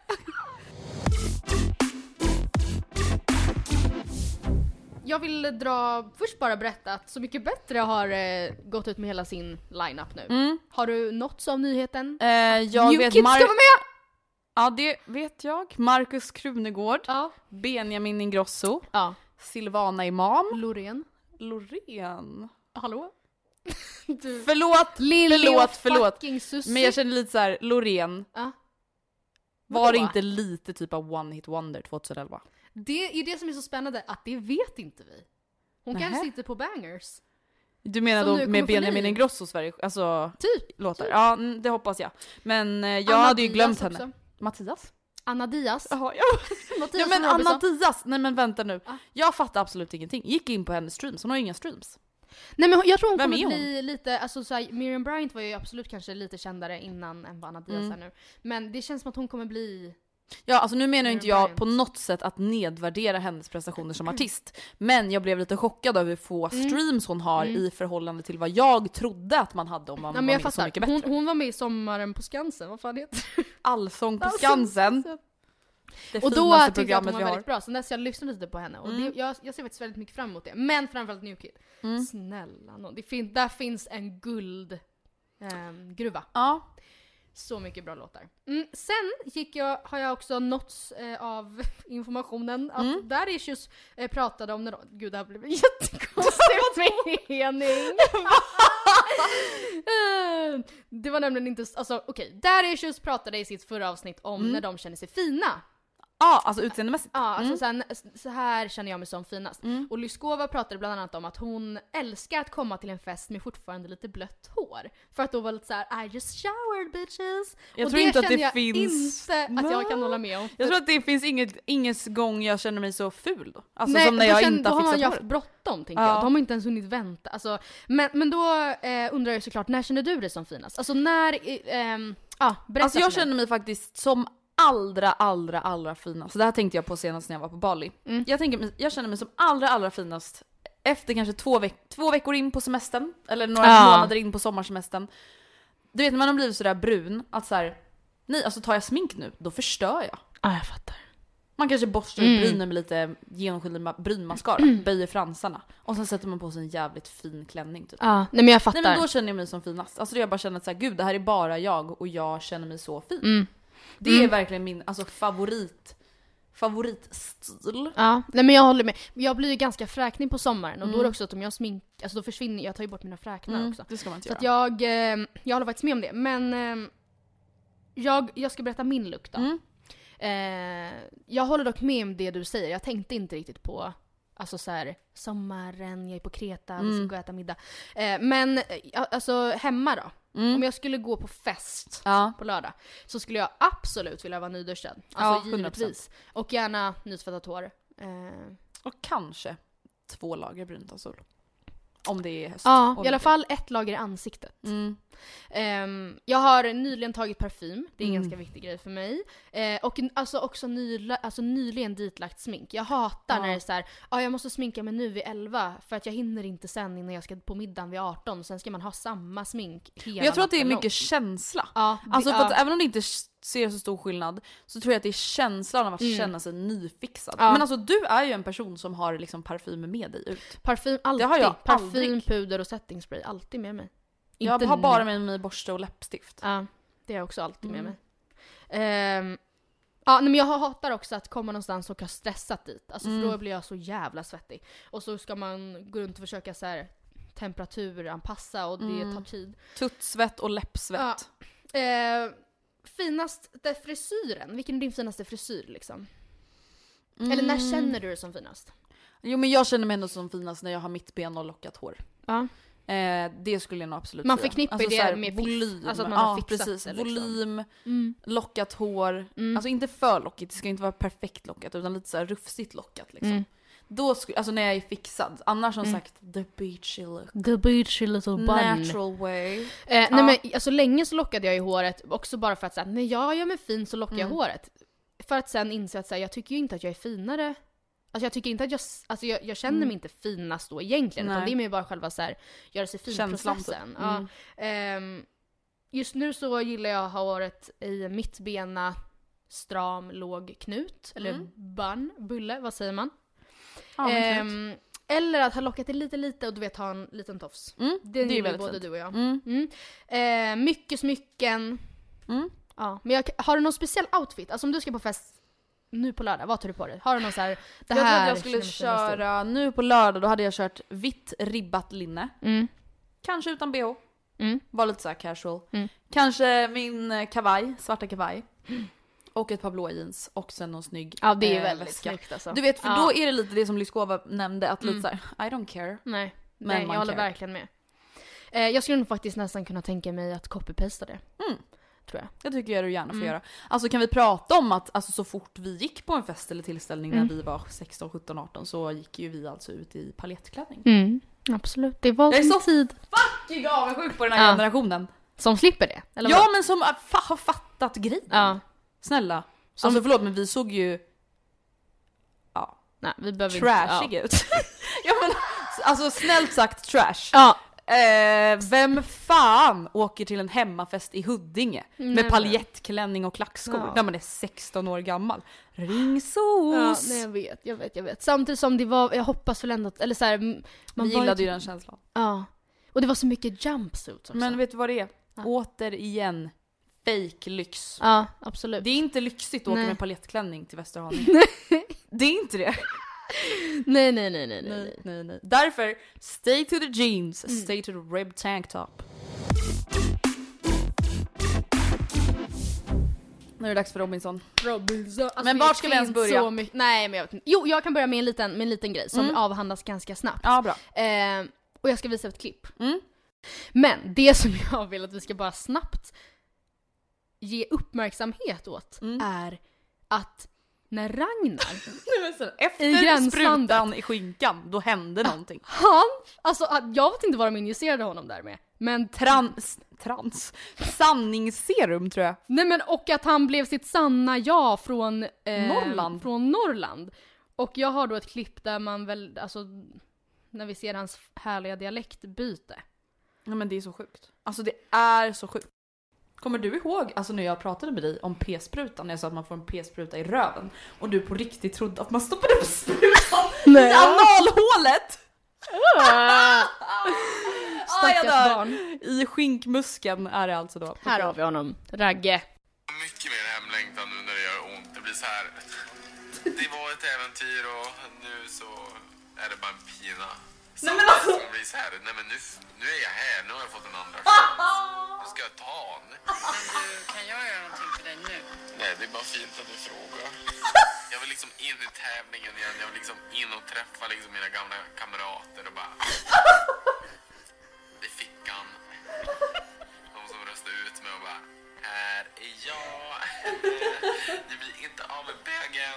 S1: Jag vill dra, först bara berätta att Så Mycket Bättre har eh, gått ut med hela sin lineup nu. Har du nåtts av nyheten?
S2: Eh, jag
S1: New
S2: vet
S1: Kids
S2: Mar-
S1: ska vara med!
S2: Ja det vet jag. Markus Krunegård,
S1: Ja.
S2: Benjamin Ingrosso,
S1: Ja.
S2: Silvana Imam,
S1: Loreen.
S2: Loreen.
S1: Hallå? Du.
S2: Förlåt, förlåt, förlåt.
S1: fucking Susie.
S2: Men jag känner lite så här, Loreen,
S1: Ja.
S2: var det
S1: Vadå?
S2: inte lite typ av one hit wonder 2011?
S1: Det är det som är så spännande, att det vet inte vi. Hon
S2: Nähä.
S1: kanske sitter på bangers.
S2: Du menar
S1: Som nu
S2: då
S1: kommer
S2: med
S1: få
S2: Benjamin
S1: ny.
S2: Ingrosso Sverige, alltså
S1: Typ.
S2: låtar?
S1: Typ.
S2: Ja, mm, det hoppas jag. Men eh, jag
S1: Anna
S2: hade ju
S1: Diaz
S2: glömt henne.
S1: också.
S2: Mattias?
S1: Anna Diaz.
S2: Jaha, ja.
S1: Mattias
S2: ja men
S1: Robinson.
S2: Anna Diaz, nej men vänta nu.
S1: Ah.
S2: Jag fattar absolut ingenting. Gick in på hennes streams, hon har ju inga streams.
S1: Nej men jag tror hon
S2: Vem
S1: kommer
S2: är hon?
S1: bli lite, alltså så här, Miriam Bryant var ju absolut kanske lite kändare innan än vad Anna Diaz är nu. Men det känns som att hon kommer bli,
S2: Mm. Ja, alltså nu menar ju inte
S1: Miriam
S2: jag på något sätt att nedvärdera hennes prestationer som artist. Men jag blev lite chockad över hur få
S1: Mm.
S2: streams hon har i förhållande till vad jag trodde att man hade om man
S1: nej
S2: var
S1: men jag
S2: med Så Mycket
S1: fattar.
S2: Bättre.
S1: Hon, hon var med i Sommaren på Skansen, vad fan heter det? Alltså,
S2: Allsång på Skansen, det
S1: Och då
S2: finaste
S1: tyckte jag att hon
S2: programmet
S1: var
S2: vi har. Mm.
S1: väldigt bra, sen dess har jag lyssnat lite på henne och det, jag, jag ser faktiskt väldigt mycket fram emot det. Men framförallt New Kid. Snälla nån, det fin- där finns en guld ehm, gruva.
S2: Ja.
S1: Så mycket bra låtar. Mm, sen gick jag, har jag också nåtts eh, av informationen att
S2: Mm.
S1: Daricius eh, pratade om när de, gud det här blev en jättekonstig mening. Eh, det var nämligen inte, s- alltså okej, Daricius pratade i sitt förra avsnitt om
S2: Mm.
S1: när de känner sig fina.
S2: ja, alltså utseendemässigt.
S1: Ja, alltså
S2: Mm.
S1: så, här, så här känner jag mig som finast. Och Lyskova pratade bland annat om att hon älskar att komma till en fest med fortfarande lite blött hår. För att då var lite så här: I just showered bitches.
S2: Jag
S1: och
S2: tror inte att
S1: känner
S2: det
S1: jag
S2: finns-
S1: inte att jag
S2: Nej.
S1: kan hålla med om.
S2: Jag tror att det finns inget, inget gång jag känner mig så ful då. Alltså som när
S1: då
S2: jag
S1: känner-
S2: inte
S1: då
S2: har
S1: har man ju
S2: fixat
S1: haft
S2: håret.
S1: bråttom tänker
S2: Ja.
S1: jag. Då har man inte ens hunnit vänta. Alltså, men, men då eh, undrar jag såklart, när känner du dig som finast? Alltså när, eh, ehm, ja berätta
S2: Alltså
S1: för
S2: jag
S1: mig.
S2: känner mig faktiskt som allra, allra, allra finast. Mm. Det här tänkte jag på senast när jag var på Bali. Jag, tänker, mig- jag känner mig som allra, allra finast efter kanske två, veck- två veckor in på semestern, eller några
S1: Ja.
S2: månader in på sommarsemestern. Du vet när man har blivit sådär brun, att såhär, nej alltså tar jag smink nu, då förstör jag.
S1: Ja jag fattar.
S2: Man kanske borstar ut brynen med lite genomskinlig ma- brynmascara, böjer fransarna. Och sen sätter man på sig en jävligt fin klänning typ.
S1: Ja, nej men jag fattar.
S2: Nej men då känner jag mig som finast. Alltså då jag bara känner att så här, gud det här är bara jag och jag känner mig så fin.
S1: Mm.
S2: Det är verkligen min alltså, favorit, favoritstil.
S1: Ja, nej men jag håller med. Jag blir ju ganska fräknig på sommaren och då är det också att om jag smink, alltså då försvinner, jag tar ju bort mina fräknar också.
S2: Det ska man inte
S1: Så
S2: göra.
S1: att jag, eh, jag håller faktiskt med om det. Men eh, jag, jag ska berätta min look då.
S2: Mm.
S1: Eh, jag håller dock med om det du säger, jag tänkte inte riktigt på Alltså så här,
S2: Mm.
S1: sommaren, jag är på Kreta, vi ska gå och äta middag. Eh, men eh, ja, alltså hemma då? Om jag skulle gå på fest
S2: Mm. Ja.
S1: på lördag så skulle jag absolut vilja vara nyduschad. Alltså
S2: Ja, 100%.
S1: givetvis. Och gärna nytvättat hår. Eh,
S2: Och kanske två lager brunt av sol. Om det är höst.
S1: ja,
S2: och
S1: i alla
S2: vinter.
S1: fall ett lager i ansiktet.
S2: Mm.
S1: Ehm, jag har nyligen tagit parfym, det är
S2: Mm.
S1: en ganska viktig grej för mig. Eh, och n- alltså också nyla, alltså nyligen ditlagt smink. Jag hatar när det är såhär, ah, jag måste sminka mig nu vid 11 för att jag hinner inte sen innan jag ska på middagen vid 18. Sen ska man ha samma smink hela
S2: Jag tror att det är
S1: natten lång.
S2: mycket känsla.
S1: Ja, det-
S2: Alltså för att
S1: ja.
S2: även om det inte s- ser så stor skillnad så tror jag att det är känslan av att känna sig nyfixad.
S1: Mm. Ja.
S2: Men alltså du är ju en person som har liksom parfym med dig ut.
S1: Parfym, alltid.
S2: Det har jag
S1: parfym,
S2: aldrig.
S1: puder och setting spray, alltid med mig.
S2: Jag
S1: Inte
S2: har
S1: nu.
S2: bara med mig borste och läppstift.
S1: Ja, det har jag också alltid med mig. Ehm, ja, nej, men jag hatar också att komma någonstans och ha stressat dit. Alltså, För då blir jag så jävla svettig. Och så ska man gå runt och försöka så här, temperaturanpassa och det tar tid.
S2: Tuttsvett och läppsvett.
S1: Ehm, finaste frisyren, vilken är din finaste frisyr liksom? Eller när känner du dig som finast?
S2: Jo men jag känner mig ändå som finast när jag har mitt ben och lockat hår.
S1: Ja.
S2: Eh, det skulle jag nog absolut
S1: Man
S2: säga. Alltså
S1: förknippar ju det
S2: så här,
S1: med fix.
S2: volym.
S1: Alltså att man har
S2: ja,
S1: fixat
S2: precis.
S1: det, liksom. Mm.
S2: Volym, lockat hår. Alltså inte för lockigt, det ska inte vara perfekt lockat utan lite så här rufsigt lockat liksom.
S1: Mm.
S2: Då skulle, alltså när jag är fixad. Annars som sagt, the beachy look.
S1: The beachy little
S2: Natural way.
S1: Eh, nej men alltså länge så lockade jag i håret, också bara för att säga när jag gör mig fin så lockar
S2: Mm.
S1: jag håret. För att sen inse att så här, jag tycker ju inte att jag är finare. Alltså jag tycker inte att jag, s- alltså jag, jag känner mig inte finast då egentligen. Utan
S2: Mm. Nej.
S1: det är mer bara själva så här, göra sig
S2: Känslan,
S1: fin-processen.
S2: typ.
S1: Ja.
S2: Mm.
S1: Ehm, just nu så gillar jag att ha håret i mittbena, stram, låg knut. Eller bun, bulle, vad säger man?
S2: Mm. Ja, men
S1: Ehm,
S2: fint.
S1: eller att ha lockat det lite lite och du vet ha en liten tofs.
S2: Mm, det är
S1: Det gillar ju
S2: väldigt
S1: både
S2: fint.
S1: du och jag.
S2: Mm.
S1: Mm. Eh, mycket smycken.
S2: Mm.
S1: Ja, men jag, har du någon speciell outfit? Alltså om du ska på fest nu på lördag, vad tar du på dig? Har du någon så här, det
S2: jag
S1: här
S2: trodde jag skulle
S1: känner jag mig stor.
S2: köra, nu på lördag då hade jag kört vitt ribbat linne.
S1: Mm.
S2: Kanske utan bh.
S1: Mm.
S2: Var lite såhär casual.
S1: Mm.
S2: Kanske min eh, kavaj, svarta kavaj. Och ett par blå jeans och sen någon snygg
S1: Ja det är
S2: eh,
S1: väldigt
S2: väska.
S1: snyggt alltså.
S2: Du vet för
S1: ja. Mm.
S2: då är det lite det som Lyskova nämnde att lite såhär I don't care.
S1: Nej,
S2: Men
S1: nej
S2: man
S1: jag håller
S2: care.
S1: verkligen med. Eh, jag skulle nog faktiskt nästan kunna tänka mig att copy-pasta det.
S2: Mm.
S1: Tror jag.
S2: Jag tycker du gärna
S1: Mm.
S2: får göra. Alltså kan vi prata om att alltså, så fort vi gick på en fest eller tillställning
S1: Mm.
S2: när vi var 16, 17, 18 så gick ju vi alltså ut i paljettklänning.
S1: Absolut, det var
S2: Jag är
S1: en
S2: så
S1: Mm. tid
S2: fucking avundsjuk på den här
S1: Ja.
S2: generationen.
S1: som slipper det. Eller
S2: Ja
S1: vad?
S2: men som äh, fa- har fattat grejen.
S1: ja.
S2: Snälla.
S1: Som-
S2: Alltså förlåt men vi såg ju
S1: Nej, vi behöver
S2: trashig
S1: inte...
S2: ut. ja, men, alltså snällt sagt trash.
S1: Ja.
S2: Eh, vem fan åker till en hemmafest i Huddinge
S1: Nej,
S2: med
S1: men-
S2: paljettklänning och klackskor
S1: Ja.
S2: när man är 16 år gammal?
S1: Ja. ja,
S2: Ringsos!
S1: nej jag vet, jag vet, jag vet. Samtidigt som det var, jag hoppas väl ändå att, eller så här, m- man
S2: vi
S1: var
S2: gillade
S1: typ-
S2: ju den känslan.
S1: Ja. Och det var så mycket jumpsuits också.
S2: Men vet du vad det är? Återigen, fake lyx.
S1: Ja, absolut.
S2: Det är inte lyxigt att åka
S1: Nej.
S2: med paljettklänning till Västerhaninge. det är inte det.
S1: Nej, nej, nej, nej, nej.
S2: nej, Mm. nej, nej. Därför, stay to the jeans, stay to the rib tank top. Nu är det dags för Robinson.
S1: Robinson. Alltså,
S2: Men
S1: det
S2: vart ska vi ens
S1: finns
S2: börja? Mm.
S1: Så mycket. Nej, men jag vet inte. Jo, jag kan börja med en liten, med en liten grej som avhandlas ganska snabbt.
S2: Ja, bra.
S1: Eh, och jag ska visa ett klipp.
S2: Mm.
S1: Men det som jag vill att vi ska bara snabbt ge uppmärksamhet åt
S2: Mm.
S1: är att när Ragnar I
S2: alltså, Efter
S1: gränslandet.
S2: sprutan i skinkan, då hände någonting.
S1: Han, alltså att- jag vet inte vad de injicerade honom där med. Men
S2: Trans, trans, sanningsserum tror jag.
S1: nej men och att han blev sitt sanna jag från eh,
S2: Norrland.
S1: Från Norrland. Och jag har då ett klipp där man väl, alltså när vi ser hans härliga dialektbyte.
S2: Nej men det är så sjukt. Alltså det är så sjukt. Kommer du ihåg alltså när jag pratade med dig om p-sprutan, när jag sa att man får en p-spruta i röven och du på riktigt trodde att man stoppade upp sprutan i analhålet? ah, jag
S1: Stackars
S2: dör.
S1: barn.
S2: I skinkmuskeln är det alltså då.
S1: Här har vi honom, Ragge.
S3: mycket mer hemlängtan nu när det gör ont. Det blir så här. Det var ett äventyr och nu så är det bara en pina. Nej, men alltså. som blir så här. Nej men nu, nu är jag här. Nu har jag fått en andra chans. Nu ska jag ta den.
S4: Kan jag göra någonting för dig nu?
S3: Nej, det är bara fint att du frågar. Jag vill liksom in i tävlingen igen. Jag vill liksom in och träffa liksom mina gamla kamrater och bara... Det fick han. De mig och bara, här är jag. Ni blir inte av med bögen.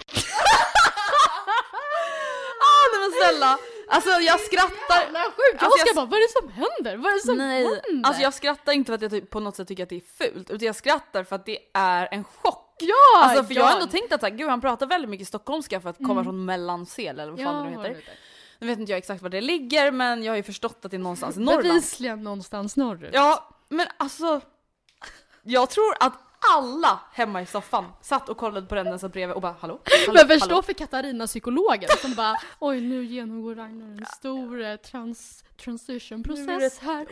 S2: Ah, nej men snälla! Alltså jag skrattar.
S1: Jävla sjukt! Jag
S2: Alltså,
S1: Oskar bara, vad är det som händer? Vad är det som
S2: Nej,
S1: händer?
S2: alltså jag skrattar inte för att jag typ på något sätt tycker att det är fult, utan jag skrattar för att det är en chock.
S1: Ja!
S2: Alltså för jag har
S1: ja. Mm.
S2: ändå tänkt att så här, gud han pratar väldigt mycket stockholmska för att komma från mellansel eller vad fan
S1: Ja,
S2: det nu
S1: vad det
S2: heter.
S1: heter.
S2: Nu vet inte jag exakt var det ligger men jag har ju förstått att det är någonstans i Norrland.
S1: Bevisligen någonstans norrut.
S2: Ja, men alltså. Jag tror att alla hemma i soffan satt och kollade på den den satt bredvid och bara hallå? hallå
S1: Men förstå
S2: hallå.
S1: för Katarina psykologen som bara oj nu genomgår Ragnar en stor eh, trans transitionprocess här.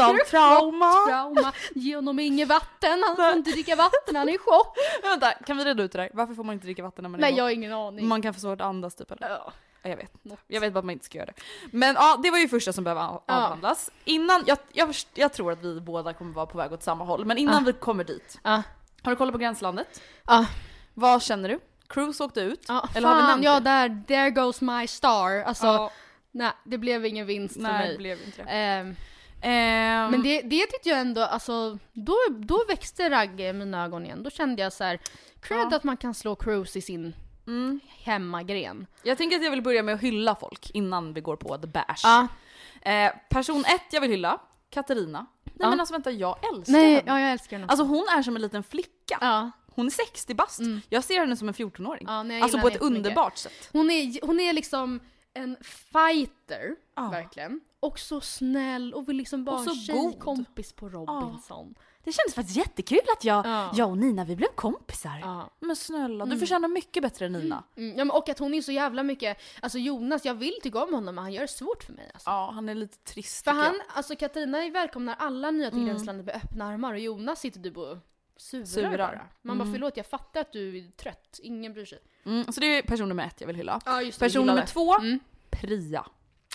S2: av trauma.
S1: Trauma genom inget vatten, han får inte dricka vatten, han är i chock.
S2: Vänta, kan vi reda ut det där? Varför får man inte dricka vatten när man är
S1: Nej
S2: i-
S1: jag har ingen aning.
S2: Man kan få svårt att andas typ eller?
S1: Ja.
S2: Ja, Jag vet inte. Jag vet bara att man inte ska göra det. Men ja, det var ju första som behöver av- avhandlas. Innan, jag, jag, jag tror att vi båda kommer vara på väg åt samma håll, men innan vi kommer dit.
S1: Ja.
S2: Har du kollat på Gränslandet?
S1: Ja.
S2: Vad känner du? Cruise åkte ut?
S1: Ja,
S2: eller har vi
S1: fan,
S2: nämnt
S1: ja
S2: det?
S1: där, there goes my star. Alltså,
S2: Ja,
S1: nej det blev ingen vinst för
S2: nej,
S1: mig.
S2: det blev inte det.
S1: Ehm,
S2: Ehm,
S1: Men det, det tyckte jag ändå, alltså, då, då växte Ragge i mina ögon igen. Då kände jag så här, cred att man kan slå Cruise i sin Mm. hemmagren.
S2: Jag tänker att jag vill börja med att hylla folk innan vi går på the bash.
S1: Ja.
S2: Eh, person ett jag vill hylla, Katarina. Nej
S1: Ja.
S2: men alltså vänta, jag älskar
S1: Nej,
S2: henne.
S1: ja, jag älskar henne också.
S2: Alltså hon är som en liten flicka.
S1: ja. Mm.
S2: Hon är 60 bast. Jag ser henne som en 14-åring.
S1: Ja, nej, jag
S2: alltså
S1: gillar
S2: på
S1: henne
S2: ett underbart sätt.
S1: hon, är, hon är liksom en fighter,
S2: Ja.
S1: verkligen. Och så snäll och vill liksom bara
S2: Och så
S1: en
S2: god.
S1: tjejkompis på Robinson.
S2: Det kändes faktiskt jättekul att jag,
S1: Ja.
S2: jag och Nina vi blev kompisar.
S1: Ja.
S2: Men snälla, du förtjänar mycket bättre än Nina.
S1: Mm, ja, men, och att hon är så jävla mycket, alltså Jonas, jag vill tycka om honom men han gör det svårt för mig. Alltså.
S2: Ja, han är lite trist
S1: För
S2: tycker Mm.
S1: han, alltså Katarina välkomnar alla nya till Gränslandet med öppna armar och Jonas sitter du och surar,
S2: Surar. Mm.
S1: bara. Man bara förlåt jag fattar att du är trött, ingen bryr sig.
S2: jag. Mm, så det är person nummer ett jag vill hylla.
S1: Ja, just det,
S2: person
S1: hylla
S2: nummer
S1: det.
S2: två, Priya.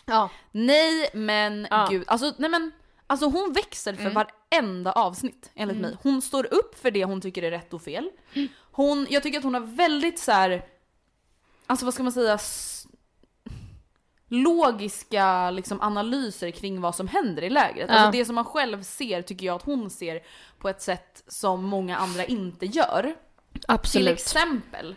S1: Ja.
S2: Nej men
S1: Ja.
S2: gud, alltså nej men Alltså hon växer för varenda avsnitt enligt mig. Hon står upp för det hon tycker är rätt och fel. Hon, jag tycker att hon har väldigt så här. alltså vad ska man säga, s- logiska liksom, analyser kring vad som händer i lägret. Alltså det som man själv ser tycker jag att hon ser på ett sätt som många andra inte gör. Till
S1: Absolut.
S2: exempel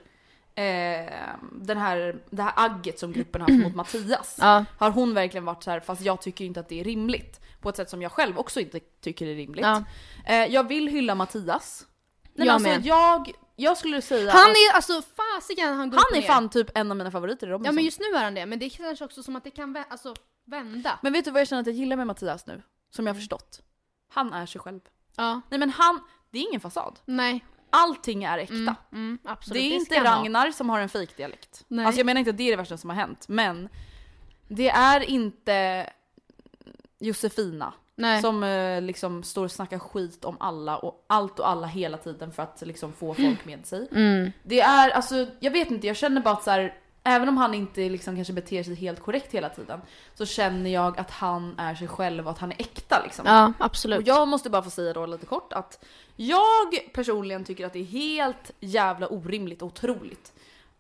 S2: eh, den här, det här agget som gruppen har haft mot Mattias.
S1: Ja.
S2: Har hon verkligen varit så här, fast jag tycker inte att det är rimligt. På ett sätt som jag själv också inte tycker är rimligt.
S1: Ja.
S2: Eh, jag vill hylla Mattias.
S1: Jag
S2: Nej, jag, men
S1: med.
S2: alltså, jag, jag skulle säga
S1: Han
S2: att
S1: är alltså fasiken han går upp och
S2: han är
S1: ner.
S2: fan typ en av mina favoriter i Robinson.
S1: Ja men just nu är han det, men det känns också som att det kan vä- alltså, vända.
S2: Men vet du vad jag känner att jag gillar med Mattias nu? Som jag har förstått. Han är sig själv.
S1: Ja.
S2: Nej men han, det är ingen fasad.
S1: Nej.
S2: Allting är äkta.
S1: Mm, absolut.
S2: det
S1: ska
S2: är inte
S1: han ha.
S2: Ragnar som har en fejkdialekt.
S1: Nej.
S2: Alltså jag menar inte att det är det värsta som har hänt, men det är inte Josefina
S1: Nej.
S2: som eh, liksom står och snackar skit om alla och allt och alla hela tiden för att liksom få folk med sig.
S1: Mm.
S2: Det är alltså, jag vet inte, jag känner bara att så här, även om han inte liksom kanske beter sig helt korrekt hela tiden så känner jag att han är sig själv och att han är äkta liksom.
S1: Ja, absolut.
S2: Och jag måste bara få säga då lite kort att jag personligen tycker att det är helt jävla orimligt och otroligt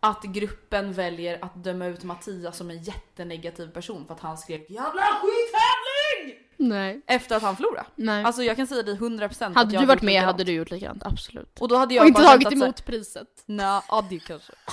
S2: att gruppen väljer att döma ut Mattias som en jättenegativ person för att han skrev “Jävla skittävling!”
S1: Nej.
S2: efter att han förlorade.
S1: Nej.
S2: Alltså jag kan säga det 100% att
S1: hade
S2: jag
S1: du
S2: hade
S1: varit
S2: gjort
S1: med
S2: likadant.
S1: hade du gjort likadant, absolut.
S2: Och då hade jag
S1: Och inte
S2: bara känt
S1: tagit
S2: att så här-
S1: emot priset.
S2: Nej, ja det kanske.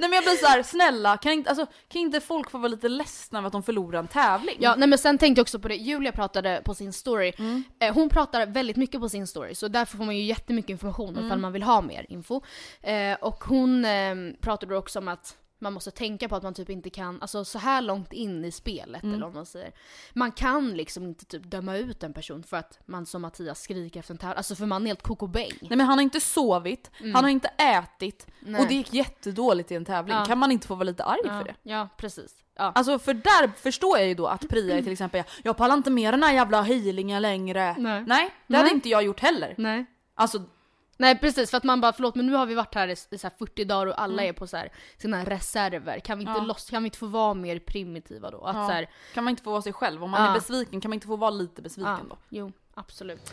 S2: Nej men jag blir såhär, snälla kan inte, alltså, kan inte folk få vara lite ledsna över att de förlorar en tävling?
S1: Ja, nej men sen tänkte jag också på det, Julia pratade på sin story.
S2: Mm.
S1: Eh, hon pratar väldigt mycket på sin story så därför får man ju jättemycket information ifall
S2: Mm.
S1: man vill ha mer info. Eh, och hon eh, pratade också om att man måste tänka på att man typ inte kan, alltså så här långt in i spelet
S2: Mm.
S1: eller vad man säger. Man kan liksom inte typ döma ut en person för att man som Mattias skriker efter en tävling, alltså för man är helt kokobäng.
S2: Nej men han har inte sovit, han har inte ätit
S1: Mm. Nej.
S2: och det gick jättedåligt i en tävling.
S1: Ja.
S2: Kan man inte få vara lite arg för det?
S1: Ja, precis. Ja.
S2: Alltså för där förstår jag ju då att Priya är till exempel, jag pallar inte med den här jävla healingen längre.
S1: Nej.
S2: det hade
S1: Nej.
S2: inte jag gjort heller.
S1: Nej.
S2: Alltså
S1: Nej precis, för att man bara förlåt men nu har vi varit här i, i så här 40 dagar och alla är på så här, sina reserver. Kan vi, inte loss, kan vi inte få vara mer primitiva då? Att så här,
S2: kan man inte få vara sig själv? Om man
S1: Ja.
S2: är besviken kan man inte få vara lite besviken
S1: ja,
S2: då?
S1: jo absolut.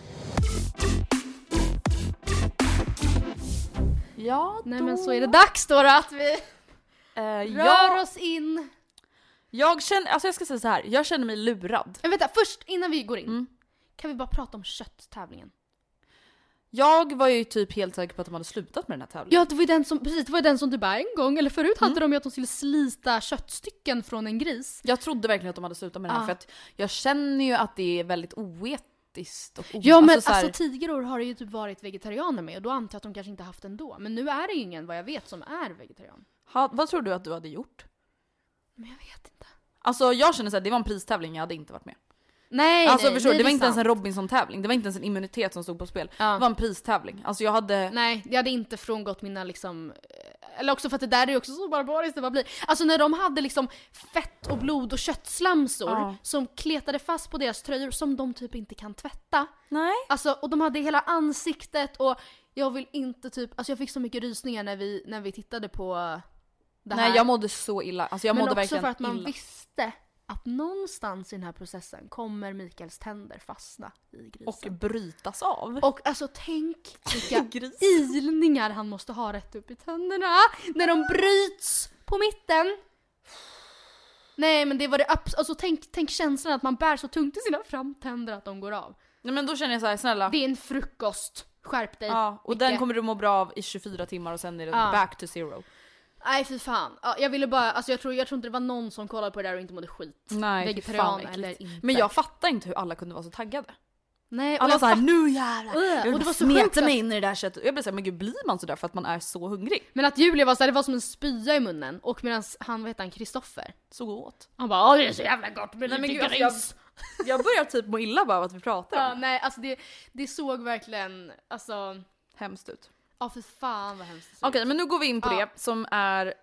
S2: Ja
S1: Nej men så är det dags då, då att vi
S2: Eh,
S1: rör
S2: jag,
S1: oss in.
S2: jag känner, alltså jag ska säga så här. jag känner mig lurad. Mm.
S1: Men vänta, först innan vi går in. Kan vi bara prata om kötttävlingen?
S2: Jag var ju typ helt säker på att de hade slutat med den här tävlingen.
S1: Ja, det var ju den som, precis, det var ju den som du bara en gång, eller förut hade de ju att de skulle slita köttstycken från en gris.
S2: Jag trodde verkligen att de hade slutat med den här
S1: Ah.
S2: för att jag känner ju att det är väldigt oetiskt och o-
S1: Ja men
S2: så
S1: alltså,
S2: här-
S1: tigror har det ju typ varit vegetarianer med och då antar jag att de kanske inte haft den då. Men nu är det ju ingen vad jag vet som är vegetarian.
S2: ha, vad tror du att du hade gjort?
S1: Men jag vet inte.
S2: Alltså jag känner såhär, det var en pristävling, jag hade inte varit med.
S1: Nej
S2: alltså
S1: nej,
S2: förstår du,
S1: nej,
S2: det var
S1: är
S2: inte ens en
S1: sant.
S2: Robinson-tävling, det var inte ens en immunitet som stod på spel.
S1: Ja.
S2: Det var en pristävling. Alltså jag hade...
S1: Nej, jag hade inte frångått mina liksom... eh, Eller också för att det där är ju också så barbariskt det bara blir. Alltså när de hade liksom fett och blod och köttslamsor
S2: Ja.
S1: som kletade fast på deras tröjor som de typ inte kan tvätta.
S2: Nej.
S1: Alltså, och de hade hela ansiktet och jag vill inte typ, alltså jag fick så mycket rysningar när vi, när vi tittade på det här.
S2: Nej jag mådde så illa. Alltså jag
S1: Men
S2: mådde
S1: också
S2: verkligen
S1: för att man
S2: illa.
S1: visste att någonstans i den här processen kommer Mikaels tänder fastna i grisen.
S2: Och brytas av.
S1: liksom. Och alltså tänk vilka
S2: Gris.
S1: ilningar han måste ha rätt upp i tänderna när de bryts på mitten. Nej men det var det abs- alltså tänk, tänk känslan att man bär så tungt i sina framtänder att de går av.
S2: Nej men då känner jag så här, snälla.
S1: Det är en frukost. Skärp dig.
S2: Ja, och
S1: Micke.
S2: den kommer du må bra av i 24 timmar och sen är det
S1: Ja.
S2: back to zero.
S1: Nej fy fan. Ja, jag ville bara, alltså jag tror, jag tror inte det var någon som kollade på det där och inte mådde skit. Vegetarian eller inte.
S2: Men jag fattar inte hur alla kunde vara så taggade.
S1: Nej, och
S2: Alla
S1: jag
S2: såhär
S1: fatt-
S2: nu jävlar!
S1: Ugh,
S2: Jag
S1: och
S2: vill
S1: det
S2: bara
S1: var så
S2: smeta
S1: sjukt att-
S2: mig in i det där köttet. Och jag blir såhär men gud blir man sådär för att man är så hungrig?
S1: Men att Julia var såhär, det var som en spya i munnen. Och medan han, vad heter han, Kristoffer?
S2: Så gå åt.
S1: Han bara åh det är så jävla gott med
S2: Nej, men
S1: lite
S2: gud, alltså,
S1: gris.
S2: jag- Jag börjar typ må illa bara av att vi pratar
S1: Ja,
S2: om det.
S1: nej alltså det, det såg verkligen, alltså,
S2: Hemskt ut.
S1: ja för fan vad hemskt det såg
S2: Okej men nu går vi in på
S1: Ja.
S2: det som är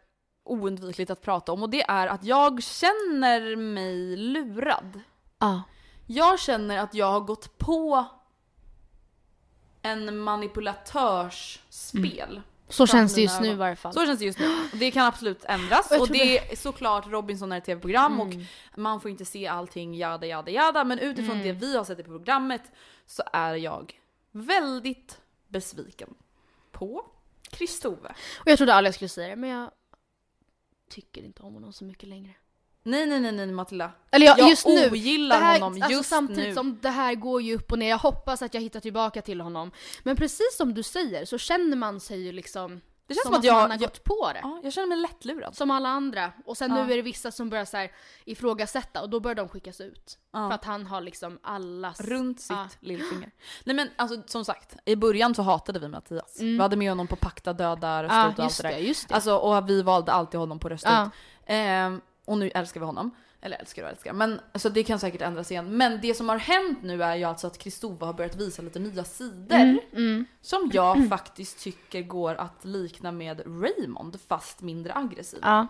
S2: oundvikligt att prata om och det är att jag känner mig lurad.
S1: Ja.
S2: Jag känner att jag har gått på en manipulatörsspel.
S1: Så
S2: framför
S1: känns det
S2: mina
S1: just nu i
S2: ögon.
S1: varje fall.
S2: Så känns det just nu. Och Det kan absolut ändras.
S1: jag Mm.
S2: Och
S1: tror
S2: det är såklart Robinson är ett tv-program och man får inte se allting jada jada jada. Men utifrån
S1: Mm.
S2: det vi har sett i programmet så är jag väldigt besviken på Kristove.
S1: Och jag trodde aldrig jag skulle säga det men jag tycker inte om honom så mycket längre.
S2: Nej nej nej nej Matilda.
S1: Eller jag,
S2: Jag
S1: just nu.
S2: ogillar
S1: det här,
S2: honom
S1: alltså,
S2: just
S1: samtidigt
S2: nu.
S1: som det här går ju upp och ner, jag hoppas att jag hittar tillbaka till honom. Men precis som du säger så känner man sig ju liksom
S2: Det känns
S1: som
S2: som
S1: att,
S2: att jag-
S1: man har
S2: jag-
S1: gått på det.
S2: Ja, jag känner mig lättlurad.
S1: Som alla andra. Och sen
S2: Ja.
S1: nu är det vissa som börjar så här ifrågasätta och då börjar de skickas ut.
S2: Ja.
S1: För att han har liksom allas...
S2: Runt sitt
S1: Ja.
S2: lillfinger. Nej men alltså som sagt, i början så hatade vi Mattias.
S1: Mm.
S2: Vi hade med honom på Pakta döda, Rösta
S1: Ja,
S2: ut och allt
S1: just
S2: det där.
S1: det, just det.
S2: Alltså, och vi valde alltid honom på Rösta
S1: Ja.
S2: ut. Ehm, och nu älskar vi honom. Eller älskar och älskar. Men, så det kan säkert ändras igen. Men det som har hänt nu är ju alltså att Kristova har börjat visa lite nya sidor.
S1: Mm,
S2: Som jag faktiskt tycker går att likna med Raymond fast mindre aggressiv.
S1: Ja.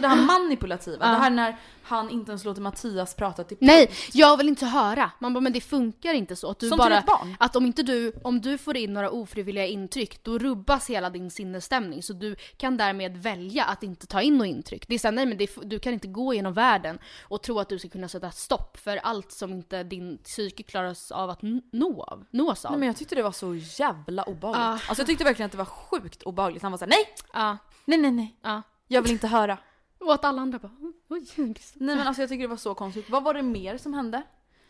S2: det här manipulativa. Det här när han inte ens låter Mattias prata till
S1: Nej,
S2: punkt.
S1: jag vill inte höra. Man bara, men det funkar inte så. Att du
S2: Som till
S1: bara,
S2: ett barn.
S1: Att om inte du, om du får in några ofrivilliga intryck, då rubbas hela din sinnesstämning. Så du kan därmed välja att inte ta in något intryck. Det är såhär, nej men det, är f- du kan inte gå genom världen och tro att du ska kunna sätta stopp för allt som inte din psyke klaras av att n- nå av, nås av.
S2: Nej, men jag tyckte det var så jävla obehagligt.
S1: Ah.
S2: Alltså jag tyckte verkligen att det var sjukt obehagligt. Han var såhär nej,
S1: Ja,
S2: nej, nej, nej.
S1: ja.
S2: Jag vill inte höra.
S1: Och att alla andra bara, oj, Kristoffer.
S2: Nej men alltså jag tycker det var så konstigt. Vad var det mer som hände?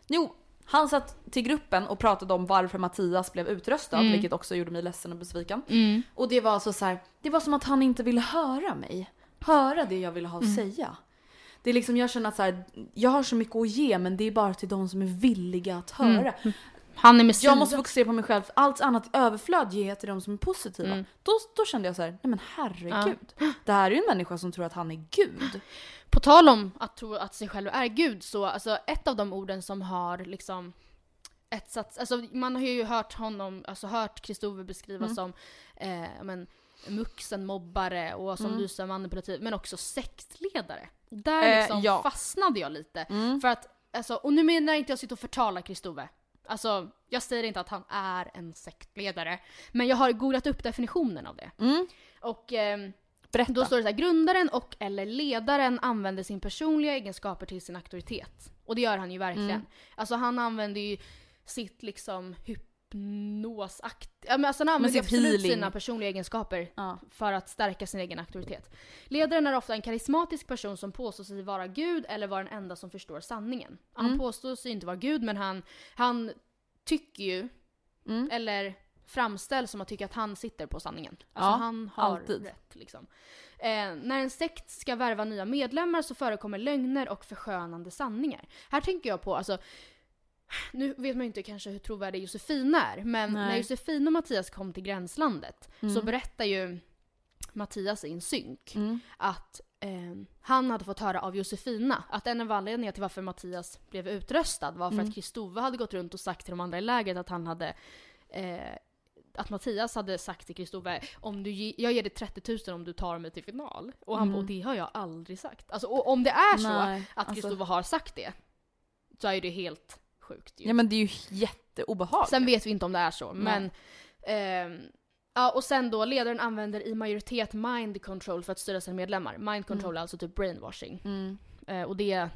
S2: Jo, han satt till gruppen och pratade om varför Mattias blev utröstad, vilket också gjorde mig ledsen och besviken. Och det var alltså så här, det var som att han inte ville höra mig. Höra det jag ville ha att säga. Det är liksom, jag känner att så här, jag har så mycket att ge men det är bara till de som är villiga att höra.
S1: Han är med
S2: Jag måste fokusera på mig själv. Allt annat överflöd ger jag till de som är positiva.
S1: Mm.
S2: Då, då kände jag så här, nej men herregud. Det här är ju en människa som tror att han är gud.
S1: På tal om att tro att sig själv är Gud så, alltså ett av de orden som har liksom etsats, alltså man har ju hört honom, alltså hört Kristove
S2: Mm.
S1: beskrivas som, eh, ja, men, muxen, mobbare och som du sa manipulativ, men också sektledare. Och Där
S2: Mm. Eh,
S1: liksom
S2: ja. Mm.
S1: fastnade jag lite. För att, alltså, och nu menar jag inte jag sitter och förtalar Kristove. Alltså, jag säger inte att han är en sektledare. Men jag har googlat upp definitionen av det. Och ehm,
S2: Berätta.
S1: då står det så här, grundaren och eller ledaren använder sin personliga egenskaper till sin
S2: Mm.
S1: auktoritet. Och det gör han ju verkligen. Alltså han använder ju sitt liksom hypnos hypnosaktig. Ja, men alltså han använder
S2: sitt
S1: absolut
S2: healing.
S1: sina personliga egenskaper
S2: Ja.
S1: för att stärka sin egen auktoritet. Ledaren är ofta en karismatisk person som påstår sig vara gud eller vara den enda som förstår sanningen. Han
S2: Mm.
S1: påstår sig inte vara gud men han, han tycker ju,
S2: Mm.
S1: eller framställs som att tycka att han sitter på sanningen. Alltså
S2: Ja,
S1: han har
S2: alltid.
S1: rätt liksom. Eh, när en sekt ska värva nya medlemmar så förekommer lögner och förskönande sanningar. Här tänker jag på, alltså, nu vet man ju inte kanske hur trovärdig Josefina är, men
S2: Nej. Mm.
S1: när Josefina och Mattias kom till Gränslandet så berättar ju Mattias i en synk att eh, han hade fått höra av Josefina att en av anledningarna till varför Mattias blev utröstad var för
S2: Mm.
S1: att Kristove hade gått runt och sagt till de andra i lägret att han hade eh, att Mattias hade sagt till Kristove om du ge, jag ger dig 30 000 om du tar mig till final. Och han bara, och det har jag aldrig sagt. Alltså och om det är så
S2: Mm. Nej,
S1: att
S2: alltså-
S1: Kristove har sagt det så är ju det helt sjukt ju.
S2: Ja men det är ju jätteobehagligt.
S1: Sen vet vi inte om det är så, men... ehm, ja, och sen då, ledaren använder i majoritet mind control för att styra sina medlemmar.
S2: Mm.
S1: Mind control är alltså typ brainwashing. Eh, och det...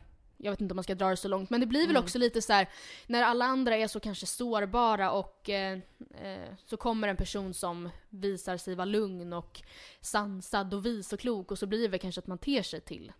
S1: Jag vet inte om man ska dra det så långt, men det blir väl
S2: Mm.
S1: också lite så här när alla andra är så kanske sårbara och eh, eh, så kommer en person som visar sig vara lugn och sansad och vis och klok och så blir det väl kanske att man ter sig till honom.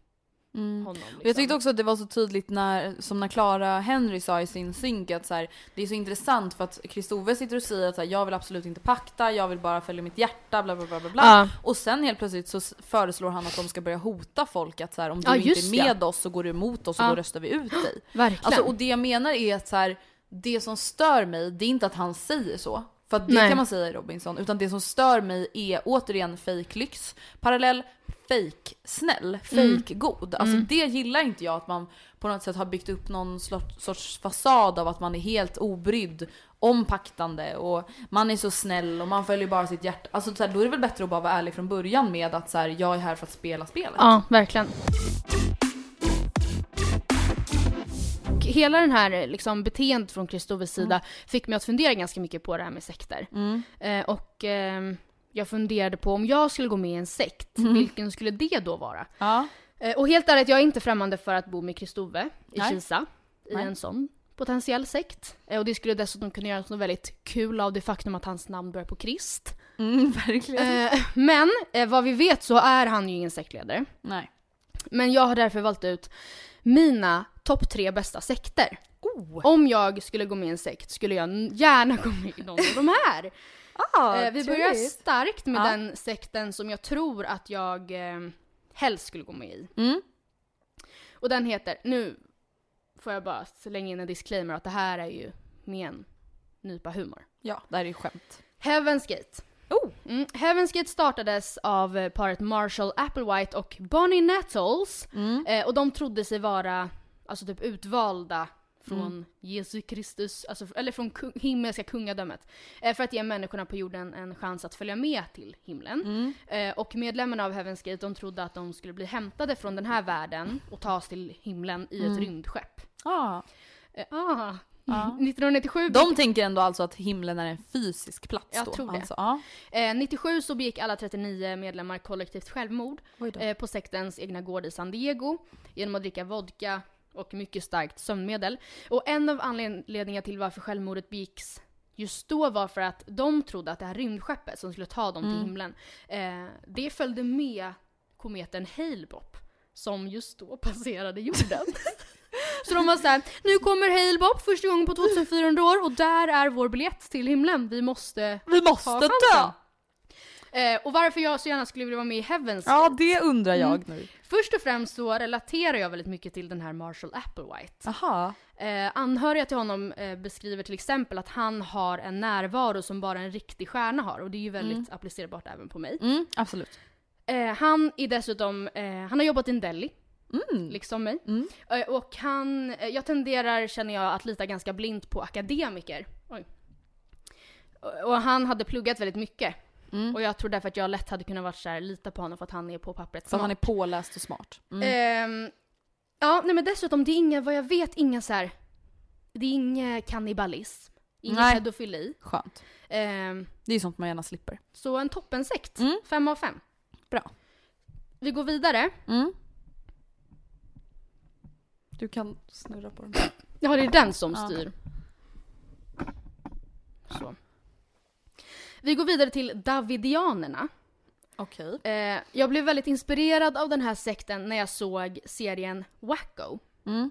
S2: Mm. Och Jag
S1: liksom.
S2: tyckte också att det var så tydligt när, som när Clara Henry sa i sin synk att så här, det är så intressant för att Kristove sitter och säger att så här, jag vill absolut inte pakta, jag vill bara följa mitt hjärta, bla bla bla bla. bla.
S1: Ja.
S2: Och sen helt plötsligt så s- föreslår han att de ska börja hota folk att så här, om du
S1: Ja,
S2: inte
S1: just
S2: är med
S1: ja.
S2: oss så går du emot oss och
S1: Ja.
S2: då röstar vi ut dig.
S1: Verkligen.
S2: Alltså, och det jag menar är att så här, det som stör mig, det är inte att han säger så. För att det
S1: Nej.
S2: kan man säga i Robinson. Utan det som stör mig är återigen fake lyx, parallell fake snäll,
S1: Mm.
S2: fake god. Alltså det gillar inte jag att man på något sätt har byggt upp någon slo- sorts fasad av att man är helt obrydd, ompaktande och man är så snäll och man följer bara sitt hjärta. Alltså så här, då är det väl bättre att bara vara ärlig från början med att så här, jag är här för att spela spelet.
S1: Ja, verkligen. Och Hela den här liksom, beteendet från Kristoffers
S2: Mm.
S1: sida fick mig att fundera ganska mycket på det här med sekter. Eh, och ehm, jag funderade på om jag skulle gå med i en sekt, vilken skulle det då vara?
S2: Mm. Ja.
S1: Eh, och helt ärligt, jag är inte främmande för att bo med Kristove i
S2: Nej.
S1: Kisa, i
S2: Nej.
S1: en sån potentiell sekt. Eh, och det skulle dessutom kunna göra något väldigt kul av det faktum att hans namn börjar på Krist.
S2: Mm, verkligen.
S1: Eh, men eh, vad vi vet så är han ju ingen sektledare.
S2: Nej.
S1: Men jag har därför valt ut mina topp tre bästa sekter.
S2: Oh.
S1: Om jag skulle gå med i en sekt skulle jag n- gärna gå med i någon av de här. eh, vi börjar starkt med
S2: Ah, Ja.
S1: den sekten som jag tror att jag eh, helst skulle gå med i.
S2: Mm.
S1: Och den heter, nu får jag bara slänga in en disclaimer att det här är ju med en nypa humor.
S2: Ja, det här är ju skämt.
S1: Heaven's Gate.
S2: Oh.
S1: Mm. Heaven's Gate startades av eh, paret Marshall Applewhite och Bonnie Nettles.
S2: Mm.
S1: Eh, och de trodde sig vara alltså typ utvalda från
S2: Mm.
S1: Jesu Kristus, alltså, eller från kung, himmelska kungadömet. Eh, för att ge människorna på jorden en chans att följa med till himlen.
S2: Mm.
S1: Eh, och medlemmarna av Heaven's Gate de trodde att de skulle bli hämtade från den här världen och tas till himlen i ett
S2: Mm.
S1: rymdskepp.
S2: Ja.
S1: Eh, ah. 1997
S2: De tänker ändå alltså att himlen är en fysisk plats
S1: Jag
S2: då?
S1: tror det.
S2: Alltså, ja.
S1: Eh, 97 så begick alla 39 medlemmar kollektivt självmord
S2: Oj då.
S1: eh, på sektens egna gård i San Diego genom att dricka vodka och mycket starkt sömnmedel. Och en av anledningarna till varför självmordet begicks just då var för att de trodde att det här rymdskeppet som skulle ta dem
S2: Mm.
S1: till himlen, eh, det följde med kometen Hale-Bopp som just då passerade jorden. Så de var såhär, nu kommer Hale-Bopp första gången på 2400 år och där är vår biljett till himlen. Vi måste
S2: Vi
S1: Ta
S2: måste dö!
S1: chansen. Eh, och varför jag så gärna skulle vilja vara med i Heavens
S2: Ja,
S1: Gate.
S2: det undrar jag nu.
S1: Först och främst så relaterar jag väldigt mycket till den här Marshall Applewhite.
S2: Aha.
S1: Eh, anhöriga till honom eh, beskriver till exempel att han har en närvaro som bara en riktig stjärna har och det är ju väldigt applicerbart även på mig.
S2: Mm, absolut.
S1: Eh, han är dessutom, eh, han har jobbat i en deli.
S2: Mm.
S1: Liksom mig. Eh, och han, eh, jag tenderar känner jag att lita ganska blint på akademiker. Oj. Och- Och han hade pluggat väldigt mycket.
S2: Mm.
S1: Och jag tror därför att jag lätt hade kunnat vara så här, lita på honom för att han är på pappret
S2: Så att
S1: smart.
S2: han är påläst och smart. Mm.
S1: Ehm, ja, nej men dessutom, det är inga, vad jag vet, inga så här. Det är inga kannibalism. Ingen
S2: Nej.
S1: pedofili.
S2: Skönt.
S1: Ehm,
S2: Det är ju sånt man gärna slipper.
S1: så en toppensekt.
S2: Mm.
S1: Fem av fem.
S2: Bra.
S1: Vi går vidare.
S2: Mm. Du kan snurra på den.
S1: Ja, det är den som
S2: Ja.
S1: styr. Så. Vi går vidare till Davidianerna.
S2: Okej.
S1: Eh, jag blev väldigt inspirerad av den här sekten när jag såg serien Wacko.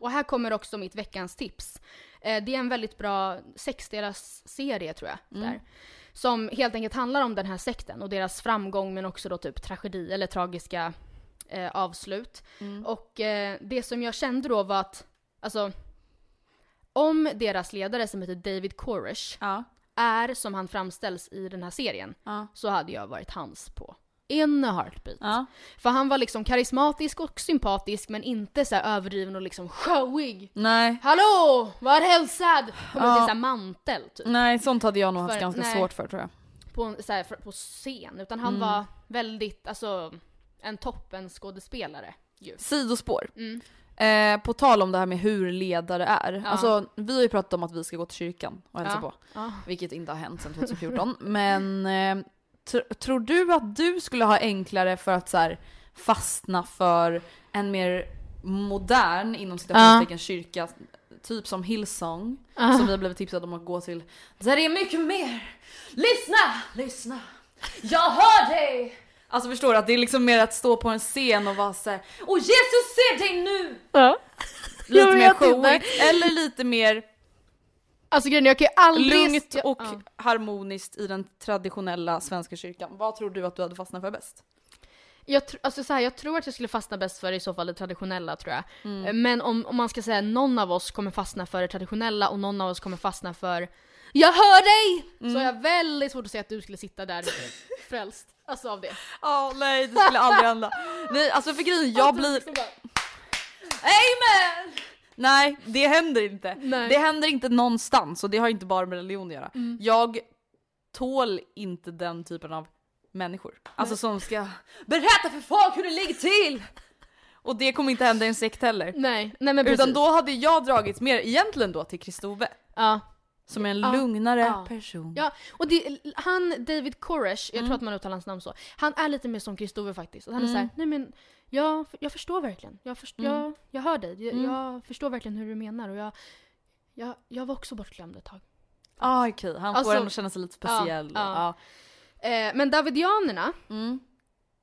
S1: Och här kommer också mitt veckans tips. Eh, det är en väldigt bra sexdelars serie tror jag. Där, som helt enkelt handlar om den här sekten och deras framgång men också då typ tragedi eller tragiska eh, avslut. Och eh, det som jag kände då var att, alltså om deras ledare som heter David Koresh
S2: Ja.
S1: är som han framställs i den här serien
S2: Ja.
S1: så hade jag varit hans på en heartbeat.
S2: Ja.
S1: För han var liksom karismatisk och sympatisk men inte så här överdriven och liksom showig.
S2: Nej.
S1: Hallå! Var hälsad! Kommer
S2: Ja. Mm.
S1: till såhär mantel typ.
S2: Nej, sånt hade jag nog haft
S1: För-
S2: ganska
S1: nej.
S2: svårt för tror jag.
S1: På, en- så här, fr- på scen. Utan han
S2: Mm.
S1: var väldigt, alltså en toppen skådespelare. Ju.
S2: Sidospår. Eh, på tal om det här med hur ledare är. Alltså, vi har ju pratat om att vi ska gå till kyrkan och hälsa
S1: Ja.
S2: på.
S1: Ja.
S2: Vilket inte har hänt sedan 2014. Men eh, tr- tror du att du skulle ha enklare för att så här, fastna för en mer modern, inom citationstecken, kyrka? Typ som Hillsong, som vi har blivit tipsade om att gå till. Där är mycket mer! Lyssna! Lyssna! Jag hör dig! Alltså förstår du att det är liksom mer att stå på en scen och vara såhär Åh Jesus ser dig nu! Lite
S1: Jag
S2: mer
S1: vet inte.
S2: showigt eller lite mer
S1: Alltså grejen är, jag kan ju aldrig...
S2: lugnt
S1: jag-
S2: och
S1: ja.
S2: harmoniskt i den traditionella svenska kyrkan. Vad tror du att du hade fastnat för bäst?
S1: Jag, tr- alltså så här, jag tror att jag skulle fastna bäst för i så fall det traditionella tror jag.
S2: Mm.
S1: Eh, Men om, om man ska säga någon av oss kommer fastna för det traditionella och någon av oss kommer fastna för Jag hör dig!
S2: Mm.
S1: Så har jag väldigt svårt att säga att du skulle sitta där frälst. Alltså av det.
S2: Ja, nej det skulle aldrig hända. Nej alltså för grejen, jag blir...
S1: Så bara,
S2: Amen! Nej, det händer inte.
S1: Nej.
S2: Det händer inte någonstans och det har inte bara med religion att göra. Jag tål inte den typen av människor. Alltså som ska berätta för folk hur det ligger till! Och det kommer inte hända i en sekt heller.
S1: nej, nej men precis.
S2: Utan då hade jag dragits mer egentligen då till Kristove.
S1: Ja.
S2: Som är en
S1: Ja.
S2: lugnare
S1: Ja.
S2: person.
S1: Ja, och det, han David Koresh,
S2: Mm.
S1: jag tror att man uttalar hans namn så, han är lite mer som Kristove faktiskt. Att Han är såhär, nej men jag, jag förstår verkligen. Jag, först,
S2: Mm.
S1: jag, jag hör dig. Jag, jag förstår verkligen hur du menar och jag, jag, jag var också bortglömd ett tag.
S2: Ah, okej, han
S1: Alltså-
S2: får en att känna sig lite speciell.
S1: Ja,
S2: Ja,
S1: ja. Eh, men davidianerna,
S2: Mm.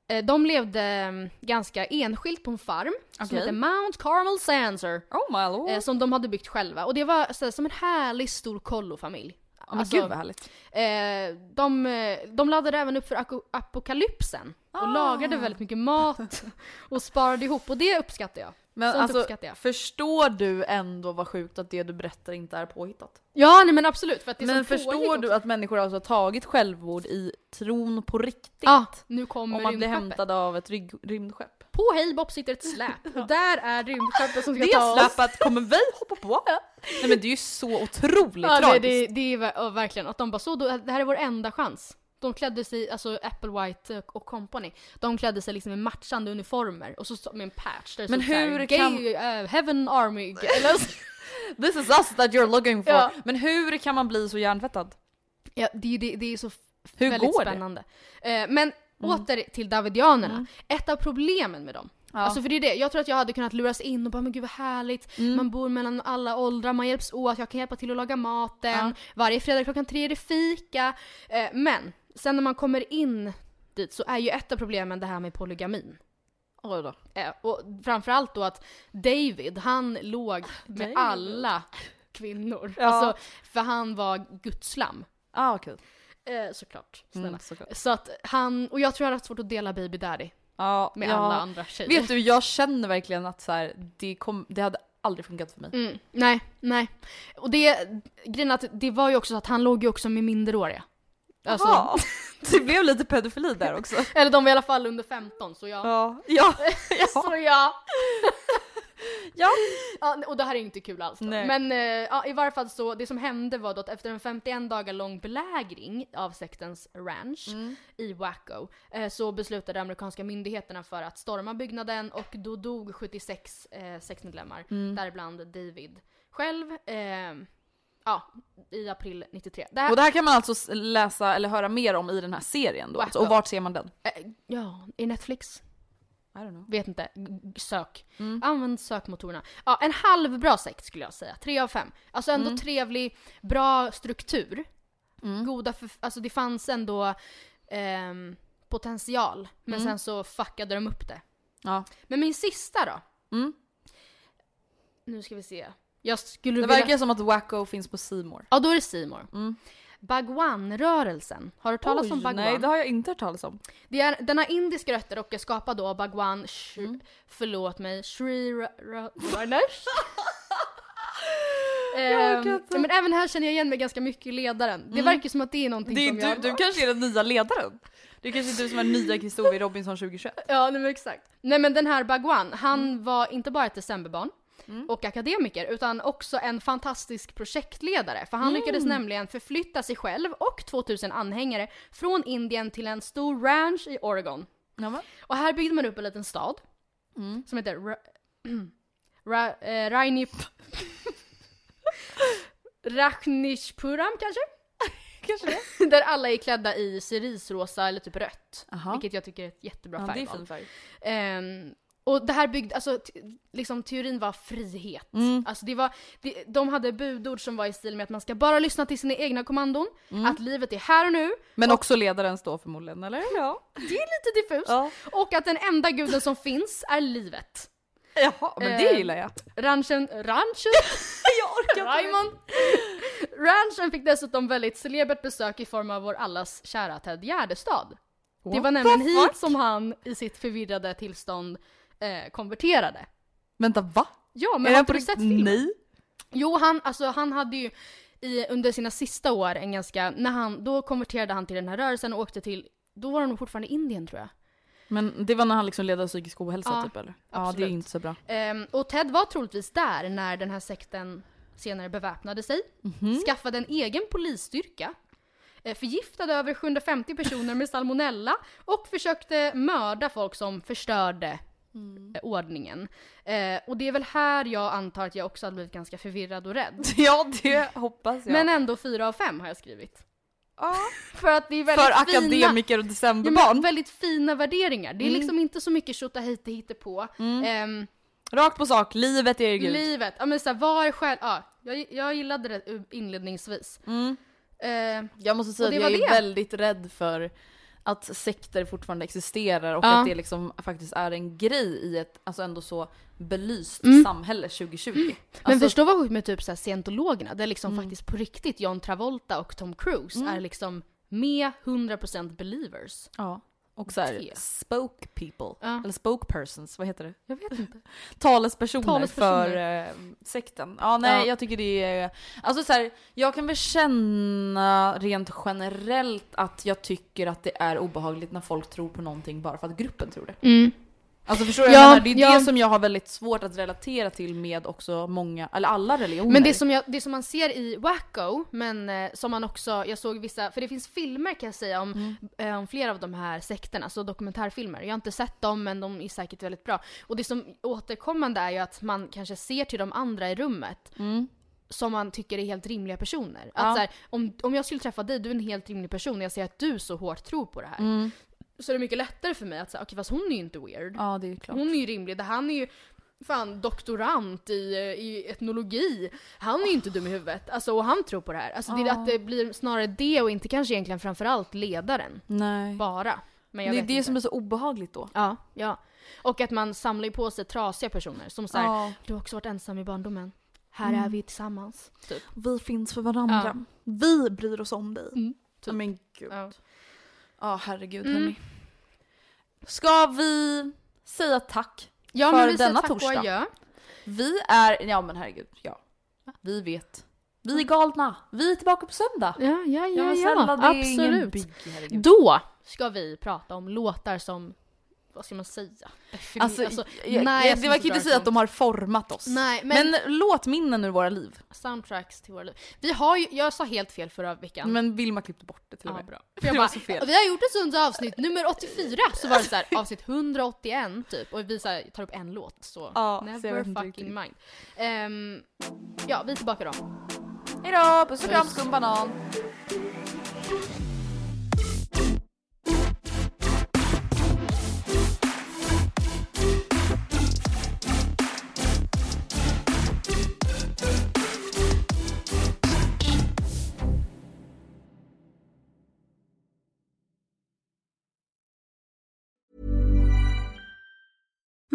S1: eh, de levde mm, ganska enskilt på en farm som
S2: Okej.
S1: hette Mount Carmel Sanser.
S2: Oh my lord.
S1: Eh, som de hade byggt själva. Och det var så här, som en härlig stor kollofamilj.
S2: Ja, men
S1: alltså-
S2: gud vad härligt.
S1: Eh, de, eh, de laddade även upp för ako- apokalypsen. Och
S2: Ah.
S1: lagade väldigt mycket mat och sparade ihop. Och det uppskattar jag.
S2: Men
S1: Sånt
S2: alltså,
S1: uppskattar jag.
S2: förstår du ändå vad sjukt att det du berättar inte är påhittat?
S1: Ja nej, men absolut. För att det
S2: Men
S1: som pågick
S2: förstår
S1: också-
S2: du att människor alltså har tagit självmord i tron på riktigt?
S1: Ja, nu kommer
S2: Om man blir
S1: rymdskeppet.
S2: hämtad av ett rygg- rymdskepp.
S1: På Hejbob sitter ett släp. Och där är rymdskeppet som ska
S2: Det
S1: ta oss.
S2: släpet kommer vi hoppa på! Nej men det är ju så otroligt
S1: Ja, det,
S2: tragiskt.
S1: det, det är ver- ja, verkligen att de bara så, då, det här är vår enda chans. De klädde sig, alltså Apple White och company, de klädde sig liksom i matchande uniformer och så så- med en patch där det
S2: Men
S1: stod så här,
S2: hur
S1: gay,
S2: kan-
S1: eh, Heaven Army, eller så.
S2: This is us that you're looking for.
S1: Ja.
S2: Men hur kan man bli så hjärntvättad?
S1: Ja, det, är ju det, det är så f-
S2: Hur
S1: väldigt
S2: går det? Mm.
S1: spännande. Eh, men åter till davidianerna. Ett av problemen med dem. Alltså för det är det, jag tror att jag hade kunnat luras in och bara men gud vad härligt,
S2: Mm.
S1: man bor mellan alla åldrar, man hjälps åt, jag kan hjälpa till att laga maten, varje fredag klockan tre är det fika. Eh, men sen när man kommer in dit så är ju ett av problemen det här med polygamin.
S2: Oj då.
S1: Eh, och framförallt då att David, han låg med
S2: Ah, David.
S1: alla kvinnor.
S2: Ja.
S1: Alltså, för han var gudslam.
S2: Ah, okej.
S1: Eh, såklart. Snälla.
S2: Mm, såklart.
S1: Så att han, och jag tror jag hade haft svårt att dela baby daddy
S2: Ja,
S1: med
S2: ja.
S1: alla andra tjejer.
S2: Vet du, jag känner verkligen att så här, det, kom, det hade aldrig funkat för mig.
S1: Mm, nej, nej. Och det, grejen är att det var ju också så att han låg ju också med minderåriga. Alltså,
S2: Jaha. Alltså, det blev lite pedofili där också.
S1: Eller de var i alla fall under 15 så ja.
S2: Ja, ja,
S1: Så ja.
S2: ja.
S1: ja. Och det här är inte kul alls. då.
S2: Nej.
S1: Men eh, ja, i varje fall så, det som hände var då att efter en 51 dagar lång belägring av sektens ranch i Waco eh, så beslutade amerikanska myndigheterna för att storma byggnaden och då dog 76 eh, sexmedlemmar, däribland David själv. Eh, Ja, i april 93. Det här,
S2: Och det här kan man alltså s- läsa eller höra mer om i den här serien då. Alltså. Och
S1: Wacko.
S2: vart ser man den?
S1: eh, ja, i Netflix.
S2: I don't know.
S1: Vet inte. G- g- Sök.
S2: Mm.
S1: Använd sökmotorerna. Ja, en
S2: Mm.
S1: halvbra sekt skulle jag säga. Tre av fem. Alltså ändå trevlig, bra struktur. Goda för, alltså det fanns ändå ehm, potential. Men
S2: Mm.
S1: sen så fuckade de upp det.
S2: Ja.
S1: Men min sista då?
S2: Mm.
S1: Nu ska vi se. Jag skulle
S2: Det
S1: vilja...
S2: verkar som att Wacko finns på Simor.
S1: Ja, då är det Simor. Bagwan-rörelsen. Har du hört talas om Bagwan?
S2: Nej, det har jag inte hört talas om.
S1: Det är, den har indiska rötter och är skapad då av Bhagwan, sh-
S2: Mm.
S1: förlåt mig, Shri Ra- Ra- Ranesh.
S2: orkar
S1: Ehm,
S2: inte. Mm.
S1: men även här känner jag igen mig ganska mycket i ledaren. Det verkar som att det är någonting
S2: Det är,
S1: som jag...
S2: du, du kanske är den nya ledaren? Det är kanske är du som är nya Kristoffer Robinson 2021?
S1: Ja, nej, men exakt. Nej men den här Bhagwan, han
S2: Mm.
S1: var inte bara ett decemberbarn och akademiker utan också en fantastisk projektledare. För han lyckades
S2: Mm.
S1: nämligen förflytta sig själv och 2000 anhängare från Indien till en stor ranch i Oregon. Och här byggde man upp en liten stad
S2: Mm.
S1: som heter Ra- Ra- eh, Rainip... Rachnishpuram kanske?
S2: Kanske det.
S1: Där alla är klädda i cerisrosa eller typ rött.
S2: Aha.
S1: Vilket jag tycker är ett jättebra
S2: Ja, det är
S1: färgval.
S2: fin färg.
S1: Ehm, och det här byggde, alltså t- liksom teorin var frihet.
S2: Mm.
S1: Alltså det var, det, de hade budord som var i stil med att man ska bara lyssna till sina egna kommandon,
S2: Mm.
S1: att livet är här och nu,
S2: Men också ledaren står förmodligen, eller? Ja.
S1: det är lite diffust,
S2: Ja.
S1: och att den enda guden som finns är livet.
S2: Jaha, men det
S1: Eh,
S2: gillar jag.
S1: Ranchen, ranchen,
S2: Jag orkar
S1: Raymond. Ranchen fick dessutom väldigt celebert besök i form av vår allas kära Ted Gärdestad. Det var nämligen hit som han i sitt förvirrade tillstånd eh, konverterade.
S2: Vänta, va?
S1: Ja,
S2: Är
S1: men
S2: det
S1: har inte
S2: på
S1: du
S2: riktigt?
S1: sett filmen?
S2: Nej.
S1: Jo, han, alltså, han hade ju i, under sina sista år en ganska, när han, då konverterade han till den här rörelsen och åkte till, då var de nog fortfarande i Indien tror jag.
S2: Men det var när han liksom ledde psykisk ohälsa
S1: Ja,
S2: typ eller? Ja, det
S1: absolut.
S2: är inte så bra.
S1: Ehm, och Ted var troligtvis där när den här sekten senare beväpnade sig, skaffade en egen polisstyrka, eh, förgiftade över 750 personer med salmonella och försökte mörda folk som förstörde eh, ordningen. Eh, och det är väl här jag antar att jag också hade blivit ganska förvirrad och rädd.
S2: Ja, det hoppas jag.
S1: Men ändå fyra av fem har jag skrivit.
S2: ja.
S1: För att det är väldigt
S2: För
S1: fina,
S2: akademiker och
S1: ja, men,
S2: decemberbarn.
S1: väldigt fina värderingar. Det är
S2: Mm.
S1: liksom inte så mycket tjotta hit och hittepå. Ehm,
S2: Rakt på sak, livet är Mm. gud.
S1: livet, ja men såhär, vad är själ... Ja, jag, jag gillade det u- inledningsvis.
S2: Mm.
S1: Ehm,
S2: jag måste säga
S1: Och
S2: att
S1: det
S2: jag är
S1: var det.
S2: väldigt rädd för att sekter fortfarande existerar och
S1: Ja.
S2: att det liksom faktiskt är en grej i ett alltså ändå så belyst samhälle 2020.
S1: men
S2: Alltså,
S1: förstå vad sjukt med typ såhär scientologerna, där liksom
S2: Mm.
S1: faktiskt på riktigt John Travolta och Tom Cruise är liksom med 100% believers.
S2: Ja. Och såhär
S1: Te.
S2: spoke people,
S1: Ja.
S2: eller spoke persons, vad heter det?
S1: Jag vet inte.
S2: talespersoner,
S1: Talespersoner.
S2: för eh, sekten. Ja, nej,
S1: Ja.
S2: jag tycker det är... Alltså så här, jag kan väl känna rent generellt att jag tycker att det är obehagligt när folk tror på någonting bara för att gruppen tror det. Alltså förstår du? vad
S1: Mm. Ja,
S2: jag menar? Det är
S1: ja.
S2: det som jag har väldigt svårt att relatera till med också många, eller alla religioner.
S1: Men det som, jag, det som man ser i Wacko, men eh, som man också, jag såg vissa, för det finns filmer kan jag säga om, eh, om flera av de här sekterna, så dokumentärfilmer. Jag har inte sett dem men de är säkert väldigt bra. Och det som återkommande är ju att man kanske ser till de andra i rummet som man tycker är helt rimliga personer. Att
S2: Ja.
S1: så här, om, om jag skulle träffa dig, du är en helt rimlig person, och jag ser att du så hårt tror på det här. Så det är mycket lättare för mig att säga, okej fast hon är ju inte weird.
S2: Ja, det är ju klart.
S1: Hon är ju rimlig. Det- Han är ju fan doktorant i, eh, i etnologi. Han är ju inte dum i huvudet. Alltså, och han tror på det här. Alltså, det, är att det blir snarare det och inte kanske egentligen framförallt ledaren.
S2: Nej.
S1: Bara. Men jag
S2: Det är
S1: vet
S2: det
S1: inte.
S2: som är så obehagligt då.
S1: Ja, ja. Och att man samlar ju på sig trasiga personer som säger
S2: Ja. Mm.
S1: Du har också varit ensam i barndomen. Här är vi tillsammans. Typ.
S2: Vi finns för varandra. Vi bryr oss om dig. Ja, men
S1: Mm,
S2: gud.
S1: typ. Ja. Mm.
S2: Ja, herregud hörni. Ska vi säga tack
S1: Ja,
S2: för
S1: men vi säger
S2: denna
S1: tack och
S2: torsdag?
S1: adjö.
S2: Vi är, ja men herregud, ja. Vi vet. Vi är galna. Vi är tillbaka på söndag.
S1: Mm. Ja, ja,
S2: Ja,
S1: ja,
S2: men
S1: ja.
S2: snälla, det är ingen
S1: Absolut.
S2: bygg, herregud.
S1: Då ska vi prata om låtar som, vad ska man säga? Defini-
S2: Alltså, jag,
S1: nej, alltså,
S2: jag, det var kan ju inte säga att de har format oss.
S1: Nej, men,
S2: men... låtminnen ur våra liv.
S1: soundtracks till våra liv. Vi har ju, jag sa helt fel förra veckan.
S2: Men Vilma klippte bort det till
S1: ja,
S2: och med.
S1: bra. För
S2: Det
S1: jag
S2: var
S1: bara,
S2: så fel.
S1: Vi har gjort ett sånt avsnitt, nummer 84, så var det så här, avsnitt 181 typ. Och vi så här, tar upp en låt så
S2: Ja, så jag
S1: never
S2: vet inte
S1: fucking
S2: riktigt.
S1: mind. Ehm, ja, vi är tillbaka då.
S2: Hejdå, puss och kram skumbanan.